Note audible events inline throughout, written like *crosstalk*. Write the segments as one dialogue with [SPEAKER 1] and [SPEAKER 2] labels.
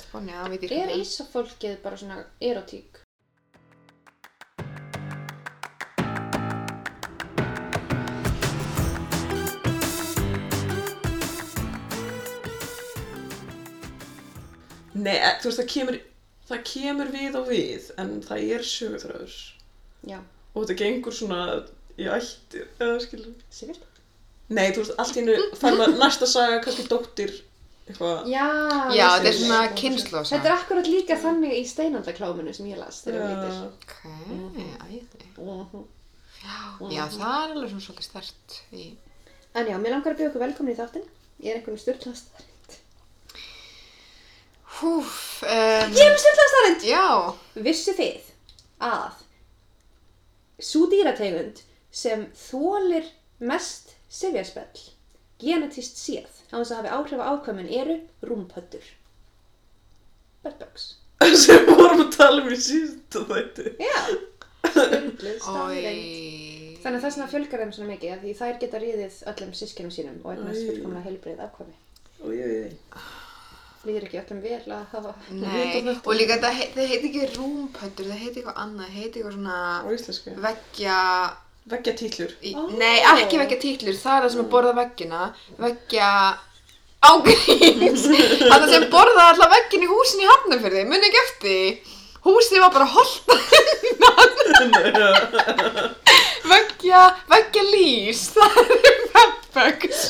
[SPEAKER 1] Ísafón, já, við
[SPEAKER 2] Er
[SPEAKER 1] dýrkum
[SPEAKER 2] Ísafólkið bara svona erotík?
[SPEAKER 3] Nei, e- þú veist, það kemur, það kemur við og við, en það er sögurþröður.
[SPEAKER 2] Já,
[SPEAKER 3] Og þetta gengur svona í ættir, eða skilur.
[SPEAKER 2] sigur
[SPEAKER 3] Nei, þú veist, allt í hennu fær maður næsta saga, kannski dóttir, eitthvað.
[SPEAKER 2] Já,
[SPEAKER 1] Já,
[SPEAKER 2] ég
[SPEAKER 1] þetta er
[SPEAKER 2] skil.
[SPEAKER 1] svona kynnslósa.
[SPEAKER 2] Þetta er akkurat líka þannig í steinandakláminu sem ég las þegar ég
[SPEAKER 3] Já.
[SPEAKER 2] veitir
[SPEAKER 1] Ok, æði.
[SPEAKER 2] Mhm.
[SPEAKER 1] Já, það er alveg svona svolítið stert í...
[SPEAKER 2] En já, mér langar að bjóða ykkur velkomin í þáttinn Ég er einhvern styrlaðast þarind
[SPEAKER 1] Húf, um,
[SPEAKER 2] Ég er með styrlaðast þarind!
[SPEAKER 1] já,
[SPEAKER 2] Vissu þið að svo dýrategund sem þólir mest sifjarspell genetist séð á þess að hafi áhrif á ákvæmin eru rúmpöttur. Bedbugs.
[SPEAKER 3] *laughs* Sem við vorum að tala um í síðan þætti.
[SPEAKER 2] Já, styrluð staðreind.
[SPEAKER 1] oi.
[SPEAKER 2] Þannig að þess vegna fjölgar þeim svona mikið af því þær geta riðið öllum sískinum sínum og eignast
[SPEAKER 3] Æ.
[SPEAKER 2] fullkomlega heilbreið afkvæmi.
[SPEAKER 3] Og ég veit,
[SPEAKER 2] Líður ekki öllum vel að hafa...
[SPEAKER 1] Nei,
[SPEAKER 3] Vita þetta.
[SPEAKER 1] og líka það, heit, það heiti ekki rúmpöndur, það heiti eitthvað annað, það heiti eitthvað
[SPEAKER 3] á
[SPEAKER 1] svona
[SPEAKER 3] íslensku.
[SPEAKER 1] veggja...
[SPEAKER 3] Veggja *laughs* títlur.
[SPEAKER 1] Í,
[SPEAKER 2] Ó.
[SPEAKER 1] Nei, ekki veggja títlur, það er það sem er borða veggina, veggja
[SPEAKER 2] *laughs*
[SPEAKER 1] ágríns, það sem borða alltaf veggin í húsin í Hafnarfyrði, muni ekki eftir, því. húsið var bara holta veggja, veggja lýs, *laughs* það eru peppugs.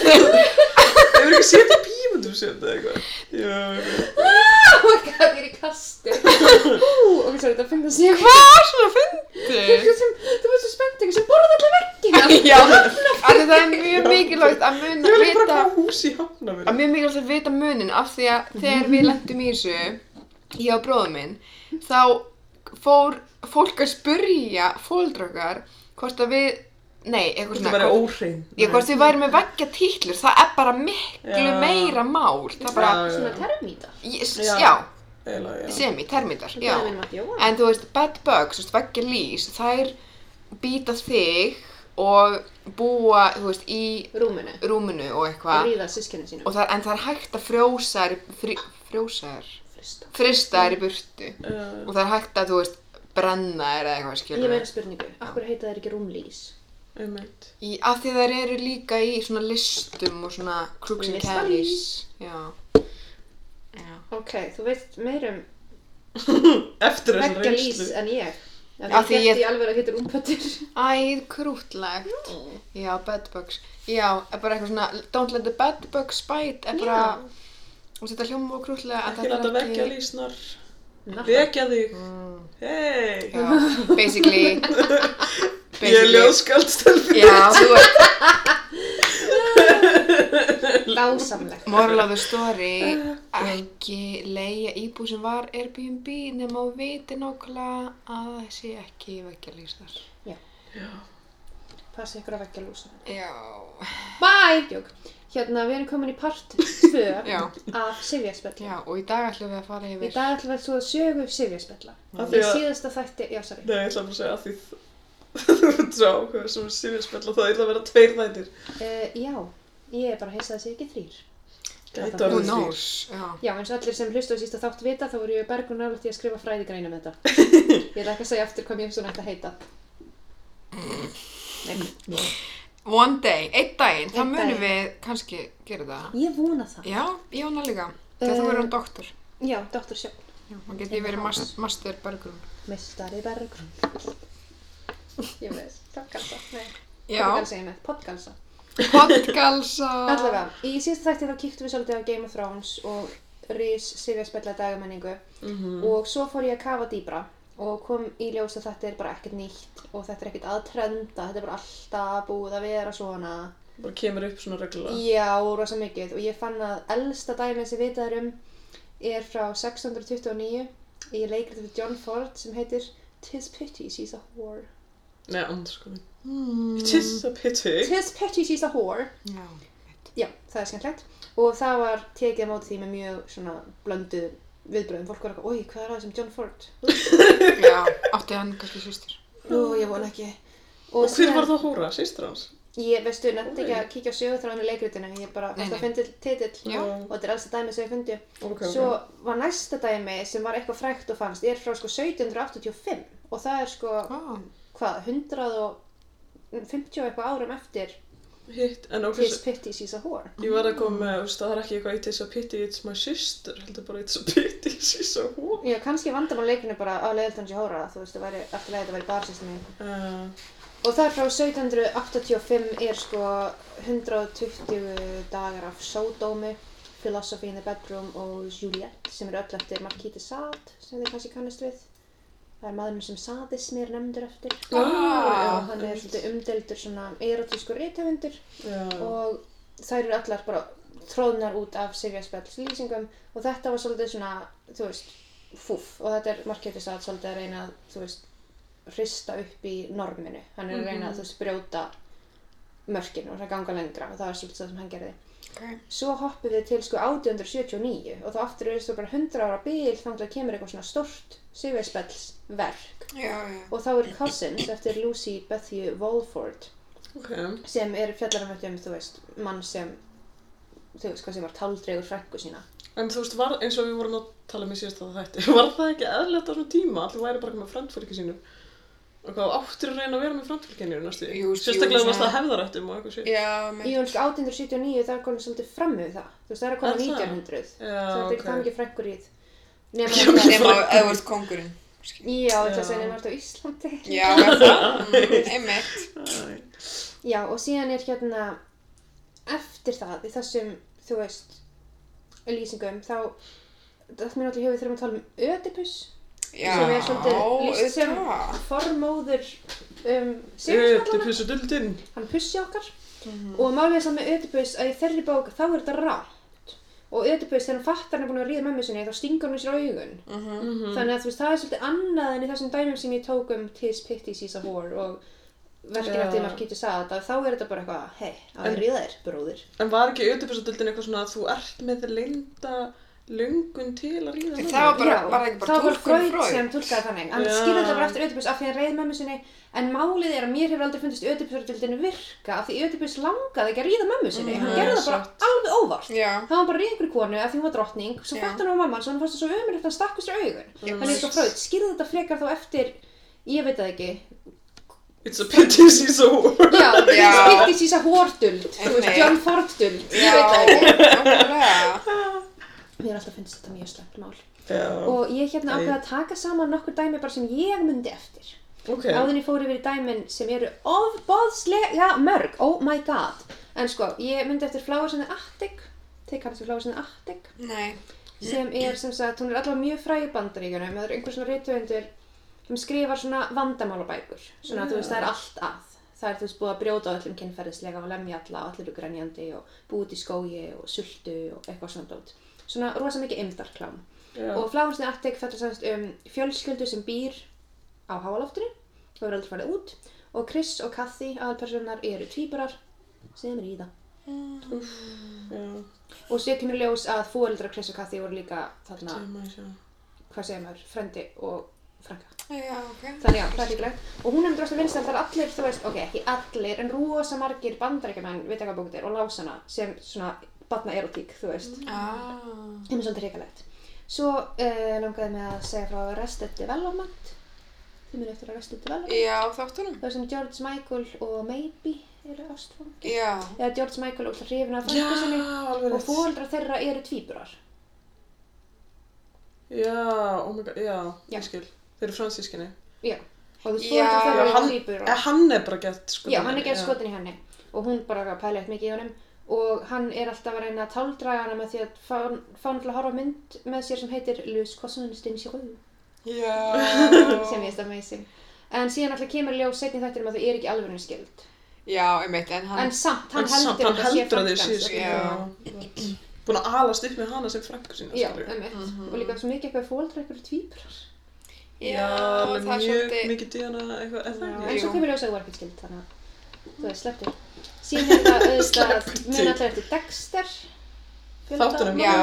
[SPEAKER 3] Hefur ekki séð þetta bímundum sem þetta eitthvað? Já, ok.
[SPEAKER 2] Oh my god, ég er í kastu! Ú, ok, sorry, þetta finnst að segja hvað.
[SPEAKER 1] Hvað var svona fyndið?
[SPEAKER 2] Eitthvað sem, þú veist, þú spennt eitthvað sem borða alltaf veggina.
[SPEAKER 1] Já, af því það er mjög mikilvægt að muna
[SPEAKER 3] Ég vil bara
[SPEAKER 1] vita
[SPEAKER 3] að koma hús í
[SPEAKER 1] að
[SPEAKER 3] Hafnarfirði.
[SPEAKER 1] mjög mikilvægt að vita munin af því að þegar við lendum í þessu ég og bróðum minn þá fór fólk að spurja fólkdrakkar hvort að við nei, eitthvað
[SPEAKER 3] Þetta
[SPEAKER 1] svona
[SPEAKER 3] væri
[SPEAKER 1] hvort,
[SPEAKER 3] óhrein.
[SPEAKER 1] ég, hvort við væri með veggja títlur, það er bara miklu
[SPEAKER 3] Já.
[SPEAKER 1] meira mál það er bara,
[SPEAKER 3] Já, já.
[SPEAKER 2] Svona termítar.
[SPEAKER 1] ég, s-
[SPEAKER 3] Já.
[SPEAKER 1] já,
[SPEAKER 3] Eiginlega, já.
[SPEAKER 1] semi, termitar já.
[SPEAKER 2] Það er minn Matti Jóhann.
[SPEAKER 1] en þú veist, bad bugs, þú veist, veggja lýs þær býta þig og búa, þú veist, í
[SPEAKER 2] Rúminu.
[SPEAKER 1] rúminu og
[SPEAKER 2] Og
[SPEAKER 1] eitthvað
[SPEAKER 2] ríða sískinu sínum.
[SPEAKER 1] og það, en það er hægt að frjósa þær í- frí, frjósa þær
[SPEAKER 2] frista.
[SPEAKER 1] frista
[SPEAKER 2] Mm.
[SPEAKER 1] þær í burtu
[SPEAKER 3] Já.
[SPEAKER 1] og það er hægt að, þú veist, brenna þær eða eitthvað
[SPEAKER 2] Ég
[SPEAKER 1] skilur
[SPEAKER 2] meina spurningu. Akkur heita þær ekki rúmlís?
[SPEAKER 3] Einmitt.
[SPEAKER 1] í, að því þær eru líka í svona listum og svona crooks and
[SPEAKER 2] Listalís.
[SPEAKER 1] caddies já já,
[SPEAKER 2] Ok, þú veist meira um
[SPEAKER 3] Eftir þessa
[SPEAKER 2] veggja lís
[SPEAKER 3] reynslu.
[SPEAKER 2] en ég. Það
[SPEAKER 1] Af
[SPEAKER 2] er
[SPEAKER 1] því
[SPEAKER 2] því ég
[SPEAKER 1] ég-
[SPEAKER 2] alveg að heita rúmpötur.
[SPEAKER 1] æð krútlegt já, bad bugs já, er bara eitthvað svona, don't let the bad bugs bite er bara og þetta hljóma og krútlega en
[SPEAKER 3] Ekki
[SPEAKER 1] þetta
[SPEAKER 3] láta
[SPEAKER 1] er
[SPEAKER 3] veggja
[SPEAKER 1] ekki Mm,
[SPEAKER 3] lísnar.
[SPEAKER 2] Narra.
[SPEAKER 3] Vekja þig. Hei.
[SPEAKER 1] já,
[SPEAKER 3] *laughs*
[SPEAKER 1] basically
[SPEAKER 3] Ég er ljóðskaldstelfi.
[SPEAKER 1] já, þú veist
[SPEAKER 2] Dásamlegt.
[SPEAKER 1] Moral of the
[SPEAKER 3] *laughs*
[SPEAKER 1] story, ekki leiða íbú sem var Airbnb nema að viti nákvæmlega að það sé ekki vekkjalýstar.
[SPEAKER 2] Passa ykkur að veggja lúsa.
[SPEAKER 1] Já.
[SPEAKER 2] Bye! Jók. Hérna, við erum komin í part
[SPEAKER 3] *laughs*
[SPEAKER 2] 2
[SPEAKER 1] Já,
[SPEAKER 2] af Sivjaspella.
[SPEAKER 1] já, og í dag ætlum við að fara
[SPEAKER 2] Í
[SPEAKER 1] yfir.
[SPEAKER 2] dag ætlum við að svo sögu Sivjaspella.
[SPEAKER 3] Af
[SPEAKER 2] Í
[SPEAKER 3] því að...
[SPEAKER 2] síðasta þætti, já, sorry.
[SPEAKER 3] Nei, ég ætla bara að segja að því þú *laughs* ert svo áhuga sem er sifjarspell og það er að vera tveir þættir.
[SPEAKER 2] Uh, já, ég er bara að heissa þessi ekki þrýr.
[SPEAKER 3] Gæti
[SPEAKER 1] Who
[SPEAKER 3] orðið því.
[SPEAKER 1] knows? Já.
[SPEAKER 2] Já, eins og allir sem hlustu á sísta þátt vita, þá voru ég bergur nálægt í að skrifa fræðigreina *laughs* með þetta. Ég ætla ekki að segja aftur hvað mér svona ætti að heita. Nei,
[SPEAKER 1] One day, einn daginn, það
[SPEAKER 2] Einn
[SPEAKER 1] munum
[SPEAKER 2] daginn.
[SPEAKER 1] við kannski gera það.
[SPEAKER 2] ég vona það.
[SPEAKER 1] Já, ég vona líka. Þegar
[SPEAKER 2] Eh.
[SPEAKER 1] þú verður hann doktor.
[SPEAKER 2] Já, Dr. Sjón.
[SPEAKER 1] Já, hann geti verið mas- master bergrun.
[SPEAKER 2] Mistari bergrun. Ég veist, podgalsa. Nei,
[SPEAKER 1] Já,
[SPEAKER 2] podgalsa ég með, podgalsa.
[SPEAKER 1] podgalsa.
[SPEAKER 2] Allavega, í sísta þætti þá kíktum við svolítið á Game of Thrones og Rís Sifja spella dagamenningu og svo fór ég að kafa dýbra og kom í ljós að þetta er bara ekkert nýtt og þetta er ekkert að trenda, þetta er bara alltaf búið að vera svona
[SPEAKER 3] Bara kemur upp svona reglulega.
[SPEAKER 2] Já, rosa mikið og ég fann að elsta dæmið sem vitað er um er frá 1629 í leikritu við John Ford sem heitir Tis pity she's a whore
[SPEAKER 3] Nei, sko. andarskoðin.
[SPEAKER 1] Mm.
[SPEAKER 3] It is a pity.
[SPEAKER 2] Tis pity she's a whore
[SPEAKER 1] Já.
[SPEAKER 2] Já, það er skemmtilegt og það var tekið á móti því með mjög svona blöndu viðbröðum, fólk var eitthvað, oi, hvað er það sem John Ford?
[SPEAKER 1] Já, átti hann kannski sýstir.
[SPEAKER 2] Ó, ég vona ekki
[SPEAKER 3] Og hver var það hóra? Sýstur hans?
[SPEAKER 2] Ég, veistu, nefndi ekki að kíkja á sögutráðinu leikritinu, ég bara
[SPEAKER 1] Nei,
[SPEAKER 2] fannst að
[SPEAKER 1] nei.
[SPEAKER 2] fyndi titill
[SPEAKER 1] Já.
[SPEAKER 2] og þetta er alls að dæmi sem ég fundi.
[SPEAKER 3] Ok, ok.
[SPEAKER 2] Svo var næsta dæmi sem var eitthvað frækt og fannst, er frá sko 1785 og það er sko,
[SPEAKER 1] Ó,
[SPEAKER 2] hvað, 150 eitthvað árum eftir
[SPEAKER 3] Hitt, en ok,
[SPEAKER 2] Tis Pitty Sees a Whore.
[SPEAKER 3] ég var að koma með, veist, það er ekki eitthvað It is a pity, it's my sister, heldur bara It's a pity, *laughs* she's a whore.
[SPEAKER 2] Já, kannski vandamál leikinu bara á leiðildan sér hóra, þú veist, það væri alltaf leiðið að vera barsýstum mín.
[SPEAKER 3] Uh,
[SPEAKER 2] Og það er frá 1785 er sko 120 dagar af sódómi, Philosophy in the Bedroom og Juliet sem eru öll eftir Marquis de Sade sem þið kannski kannast við. Það er maðurinn sem sadismi er nefndur eftir.
[SPEAKER 1] Ah,
[SPEAKER 2] og hann er svolítið umdeldur svona erotískur rithöfundur
[SPEAKER 3] já,
[SPEAKER 2] og þær eru allar bara tróðnar út af Sivja Spells lýsingum og þetta var svolítið svona, þú veist, fúf og þetta er marketist að svolítið að reyna að, þú veist, hrista upp í norminu hann er að reyna að, þú veist, brjóta mörkin og það ganga lengra og það er svolítið það sem hann gerði
[SPEAKER 1] ok.
[SPEAKER 2] svo hoppum við til sko 1879 og þá aftur eru þú bara 100 ára bil þannig að kemur eitthvað svona stort Sivja Spells verk
[SPEAKER 1] Já, já.
[SPEAKER 2] og þá er Cousins eftir Lucy Bethune Walford
[SPEAKER 3] ok,
[SPEAKER 2] sem er fjallaramönd um, þú veist, mann sem, þú veist, hvað sem var taldregur frængu sína.
[SPEAKER 3] en þú veist, var, eins og við vorum að tala um með síðast að þetta, *laughs* var það ekki eðlilegt á svona tíma, allir væri bara með fremdfylki sínu, og hvað, áttir að reyna að vera með fremdfylkinu, næstu,
[SPEAKER 1] Jú, jú,
[SPEAKER 3] sérstaklega
[SPEAKER 1] svona-
[SPEAKER 3] varst það hefðarættum og eitthvað sér.
[SPEAKER 1] Já,
[SPEAKER 2] Í
[SPEAKER 1] með.
[SPEAKER 2] hún sko 1879 það er komin svolítið fram við það, þú veist, það er að
[SPEAKER 3] Er
[SPEAKER 2] koma
[SPEAKER 3] það?
[SPEAKER 2] 1900,
[SPEAKER 3] Já,
[SPEAKER 2] það er
[SPEAKER 3] ok.
[SPEAKER 2] ekki það mikið frængur í það.
[SPEAKER 3] Já,
[SPEAKER 2] Nefnum
[SPEAKER 3] mér-
[SPEAKER 2] þetta,
[SPEAKER 1] Nefna á Edward Kongurinn. skilur.
[SPEAKER 2] já, þetta
[SPEAKER 3] Já.
[SPEAKER 2] segir nefnum þetta á Íslandi.
[SPEAKER 1] Já, er það. Mm, Einmitt.
[SPEAKER 3] Æ.
[SPEAKER 2] Já, og síðan er hérna, eftir það, í þessum, þú veist, lýsingum, þá, þetta mér náttúrulega hefur þurfum að tala um Ödipus,
[SPEAKER 1] Já,
[SPEAKER 2] sem er svolítið lýst sem
[SPEAKER 1] auðvitað.
[SPEAKER 2] formóður um,
[SPEAKER 3] Þetta
[SPEAKER 2] sigurspallana.
[SPEAKER 3] er pissu duldinn.
[SPEAKER 2] hann pussi okkar og málið er saman með Ödipus að í þeirri bók þá er þetta rámt og Ödipus þegar hann fattar hann er búin að ríða mömmu sinni þá stingur hann sér á augun
[SPEAKER 1] Mhm.
[SPEAKER 3] Mhm.
[SPEAKER 2] þannig að þú veist það er svolítið annað en í þessum dæmum sem ég tók um Tis Pitti Sees a Whore og verkinn
[SPEAKER 3] Já.
[SPEAKER 2] eftir Markítu sagði að þá er þetta bara eitthvað hei, að
[SPEAKER 3] En-
[SPEAKER 2] það ríða þér, bróðir
[SPEAKER 3] En var ekki auðvitaðsöldin eitthvað svona að þú ert með linda lungun til að ríða
[SPEAKER 1] Það var
[SPEAKER 3] mömmu?
[SPEAKER 1] bara, var það ekki bara
[SPEAKER 2] þá var
[SPEAKER 1] tólkun
[SPEAKER 2] Freud
[SPEAKER 1] Freud?
[SPEAKER 2] sem tólkaði þannig hann
[SPEAKER 3] Já.
[SPEAKER 2] skýrði þetta bara eftir Ödipus af því hann reið mömmu sinni en málið er að mér hefur aldrei fundist Ödipusaröldinu virka af því Ödipus langaði ekki að ríða mömmu sinni hann
[SPEAKER 3] Mhm.
[SPEAKER 2] gerði það bara
[SPEAKER 3] Satt.
[SPEAKER 2] alveg óvart
[SPEAKER 1] Já.
[SPEAKER 2] Það var bara að ríða einhverju konu af því hún var drottning, svo
[SPEAKER 1] Já.
[SPEAKER 2] fætti hann á mamma hans og hann fannst það svo ömur eftir að stakka sér augun. Þannig er svo fröð, skýrði þetta frekar þá eftir, ég veit það
[SPEAKER 1] *laughs*
[SPEAKER 2] ekki,
[SPEAKER 3] It's a pity *laughs* she's a whore.
[SPEAKER 2] já,
[SPEAKER 1] Já.
[SPEAKER 2] skýrði sísa hórduld, þú veist,
[SPEAKER 1] Einmitt.
[SPEAKER 2] John Forduld,
[SPEAKER 1] Já,
[SPEAKER 2] ég veit það ekki.
[SPEAKER 1] okkurlega.
[SPEAKER 2] Mér er alltaf finnst þetta mjög slæmt mál.
[SPEAKER 3] Já,
[SPEAKER 2] Og ég hérna
[SPEAKER 3] Æ.
[SPEAKER 2] ákveða að taka saman nokkur dæmi bara sem ég myndi eftir.
[SPEAKER 3] ok.
[SPEAKER 2] Áður en ég fór yfir í dæmin sem eru ofboðslega mörg, oh my god. En sko, ég myndi eftir Flowers in the Attic, þið kannast við Flowers in the Attic.
[SPEAKER 1] Nei.
[SPEAKER 2] sem er sem sagt, hún er allavega mjög fræg í bandaríkjunum, það er einhver svona rithöfundur sem skrifar svona vandamálabækur svona, þú veist, það er allt að það er, þú veist, búið að brjóta á öllum kynferðislega og lemja alla og allir eru grænjandi og búið út í skógi og sultu og eitthvað svona dót svona rosa mikið imdarklám
[SPEAKER 3] Já.
[SPEAKER 2] og Fláhansni Attic fellur semst um fjölskyldu sem býr á háaloftinu og er aldrei farið út og Chris og Kathy, aðalpersonar, eru tvíburar sem er í það
[SPEAKER 3] Já,
[SPEAKER 2] og sér kemur í ljós að fóreldrar Chris og Kathy voru líka þarna
[SPEAKER 3] ég maður sjá.
[SPEAKER 2] hvað segir maður, frendi og franka.
[SPEAKER 1] Já, ok.
[SPEAKER 2] Þannig já, það er líklegt. Og hún er með droslega vinsæl, það er allir, þú veist, ok, ekki allir, en rosa margir bandarækjumenn, veit ekki hvað bókið er, og lásana sem svona batna erotík, þú veist.
[SPEAKER 1] Ah.
[SPEAKER 2] Þeim er svolítið hrikalegt. Svo uh, langaði mig að segja frá Arrested Development. Þið munu eftir Arrested Development.
[SPEAKER 1] Já, þáttunum.
[SPEAKER 2] Það sem George Michael og Maybe eru ástfang.
[SPEAKER 1] Já.
[SPEAKER 2] Eða George Michael og hrifin af
[SPEAKER 3] Já,
[SPEAKER 2] frænku sinni og
[SPEAKER 3] alveg rétt.
[SPEAKER 2] fóreldrar þeirra eru tvíburar.
[SPEAKER 3] Já, oh my god, já,
[SPEAKER 2] Já.
[SPEAKER 3] ég skil. Þeir eru fransískinni.
[SPEAKER 2] Já. Og þú
[SPEAKER 1] Já,
[SPEAKER 2] fóreldrar þeirra
[SPEAKER 3] hann,
[SPEAKER 2] eru tvíburar.
[SPEAKER 3] eh, hann er bara gett sko.
[SPEAKER 2] Já, hann er gerð skotin í henni og hún bara að pæla eitt mikið í honum og hann er alltaf að reyna að táldraga hana með því að fá fá hann til að horfa á mynd með sér sem heitir Luz Cosson's Dinsiru
[SPEAKER 1] Já.
[SPEAKER 2] sem ég veist amazing. En síðan alltaf kemur ljós setni þættir um að þau eru ekki alveg skild.
[SPEAKER 1] Já, einmitt, en hann...
[SPEAKER 2] En samt, hann
[SPEAKER 3] Hann samt,
[SPEAKER 2] heldur
[SPEAKER 3] hann heldur
[SPEAKER 2] frænka
[SPEAKER 3] að þeir séu
[SPEAKER 2] hans.
[SPEAKER 3] sko.
[SPEAKER 1] Já.
[SPEAKER 3] Já. Búin að alast upp með hana sem frangur sína,
[SPEAKER 2] Já,
[SPEAKER 3] skilur.
[SPEAKER 2] um Og líka svo mikið eitthvað fóldra eitthvað tvíbrar.
[SPEAKER 3] Já, alveg
[SPEAKER 1] það er
[SPEAKER 3] mjög
[SPEAKER 1] svolítið...
[SPEAKER 3] mikið díana eitthvað, er það
[SPEAKER 2] En
[SPEAKER 3] ekki?
[SPEAKER 2] svo
[SPEAKER 1] Jú.
[SPEAKER 2] kemur ljós að þau voru ekki skild, þannig að þú veist, slepptu. Síðan er það auðvitað,
[SPEAKER 3] Slepptu.
[SPEAKER 2] mun alltaf eftir Dexter.
[SPEAKER 3] Þáttunum.
[SPEAKER 1] Já.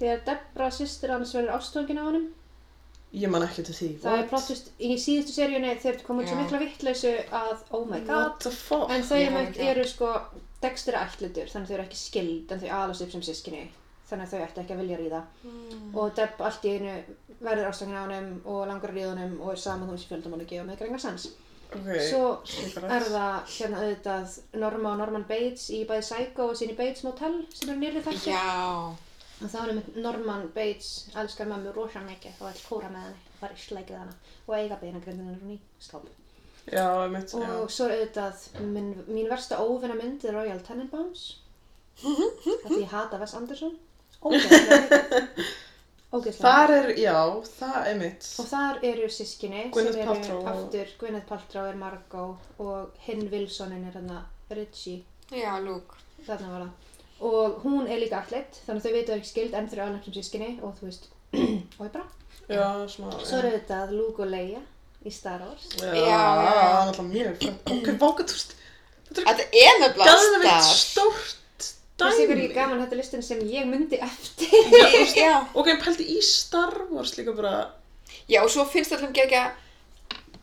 [SPEAKER 2] Þegar Debra, systir hans, verður ástóngin á honum
[SPEAKER 3] Ég man ekki til því.
[SPEAKER 2] Það er plottist í síðustu seríunni þegar þetta komið svo
[SPEAKER 1] Já.
[SPEAKER 2] mikla vittleysu að oh my god.
[SPEAKER 3] What the fuck?
[SPEAKER 2] En þau
[SPEAKER 1] Ég hef
[SPEAKER 2] einmitt
[SPEAKER 1] ekki-
[SPEAKER 2] eru sko dekstir ætlutur þannig að þau eru ekki skild en þau aðlast upp sem sískinni. Þannig að þau ættu ekki að vilja ríða.
[SPEAKER 1] Hmm.
[SPEAKER 2] Og Deb allt í einu verður ástakinn á honum og langar að ríða honum og er saman hún sem fjöldamálegi og með grengar sens.
[SPEAKER 3] Ok.
[SPEAKER 2] Svo
[SPEAKER 3] Svikalegt.
[SPEAKER 2] er það hérna auðvitað Norma og Norman Bates í bæði Psycho og sín í Bates Motel sem eru nýrið þætti.
[SPEAKER 1] Já.
[SPEAKER 2] Og þá er einmitt Norman Bates elskar mömmu rosa mikið og vill kóra með henni og var í sleikið hana og eiga beina grindinu hún í sláp.
[SPEAKER 3] Já, einmitt.
[SPEAKER 2] Og svo er auðvitað minn, mín versta óvinna mynd er Royal
[SPEAKER 3] *laughs*
[SPEAKER 2] Tenenbaums af því ég hata Wes Anderson. Ógeðslega mikið.
[SPEAKER 3] *laughs* Já.
[SPEAKER 2] Ógeðslega
[SPEAKER 3] Þar er, já, það einmitt.
[SPEAKER 2] Og þar eru sískinni
[SPEAKER 3] Gwyneth
[SPEAKER 2] sem eru
[SPEAKER 3] Paltrow.
[SPEAKER 2] aftur, Gwyneth Paltrow er Margot og hinn Wilsonin er hérna Richie,
[SPEAKER 1] Já, lúk.
[SPEAKER 2] þarna var það og hún er líka allit, þannig að þau veitu ekki skild enn þau alveg sem sískinni og þú veist *clears throat* og er bara.
[SPEAKER 3] Já, svona.
[SPEAKER 2] Svo eru þetta Luke og Leia í Star Wars
[SPEAKER 3] Já,
[SPEAKER 1] Já,
[SPEAKER 3] það
[SPEAKER 1] já.
[SPEAKER 3] er alltaf mjög frænt. Ok,
[SPEAKER 2] *clears throat*
[SPEAKER 3] vákatúrst.
[SPEAKER 1] Þetta er nefnilega
[SPEAKER 3] Gæðveikt
[SPEAKER 1] starf.
[SPEAKER 3] stórt
[SPEAKER 2] Það sé ykkur
[SPEAKER 3] dæmi.
[SPEAKER 2] ekki gaman þetta er listin sem ég myndi eftir
[SPEAKER 1] Ég- Já.
[SPEAKER 3] Ok, en pældi í Star Wars líka bara, *laughs*
[SPEAKER 1] Já, og svo finnst allum gegja,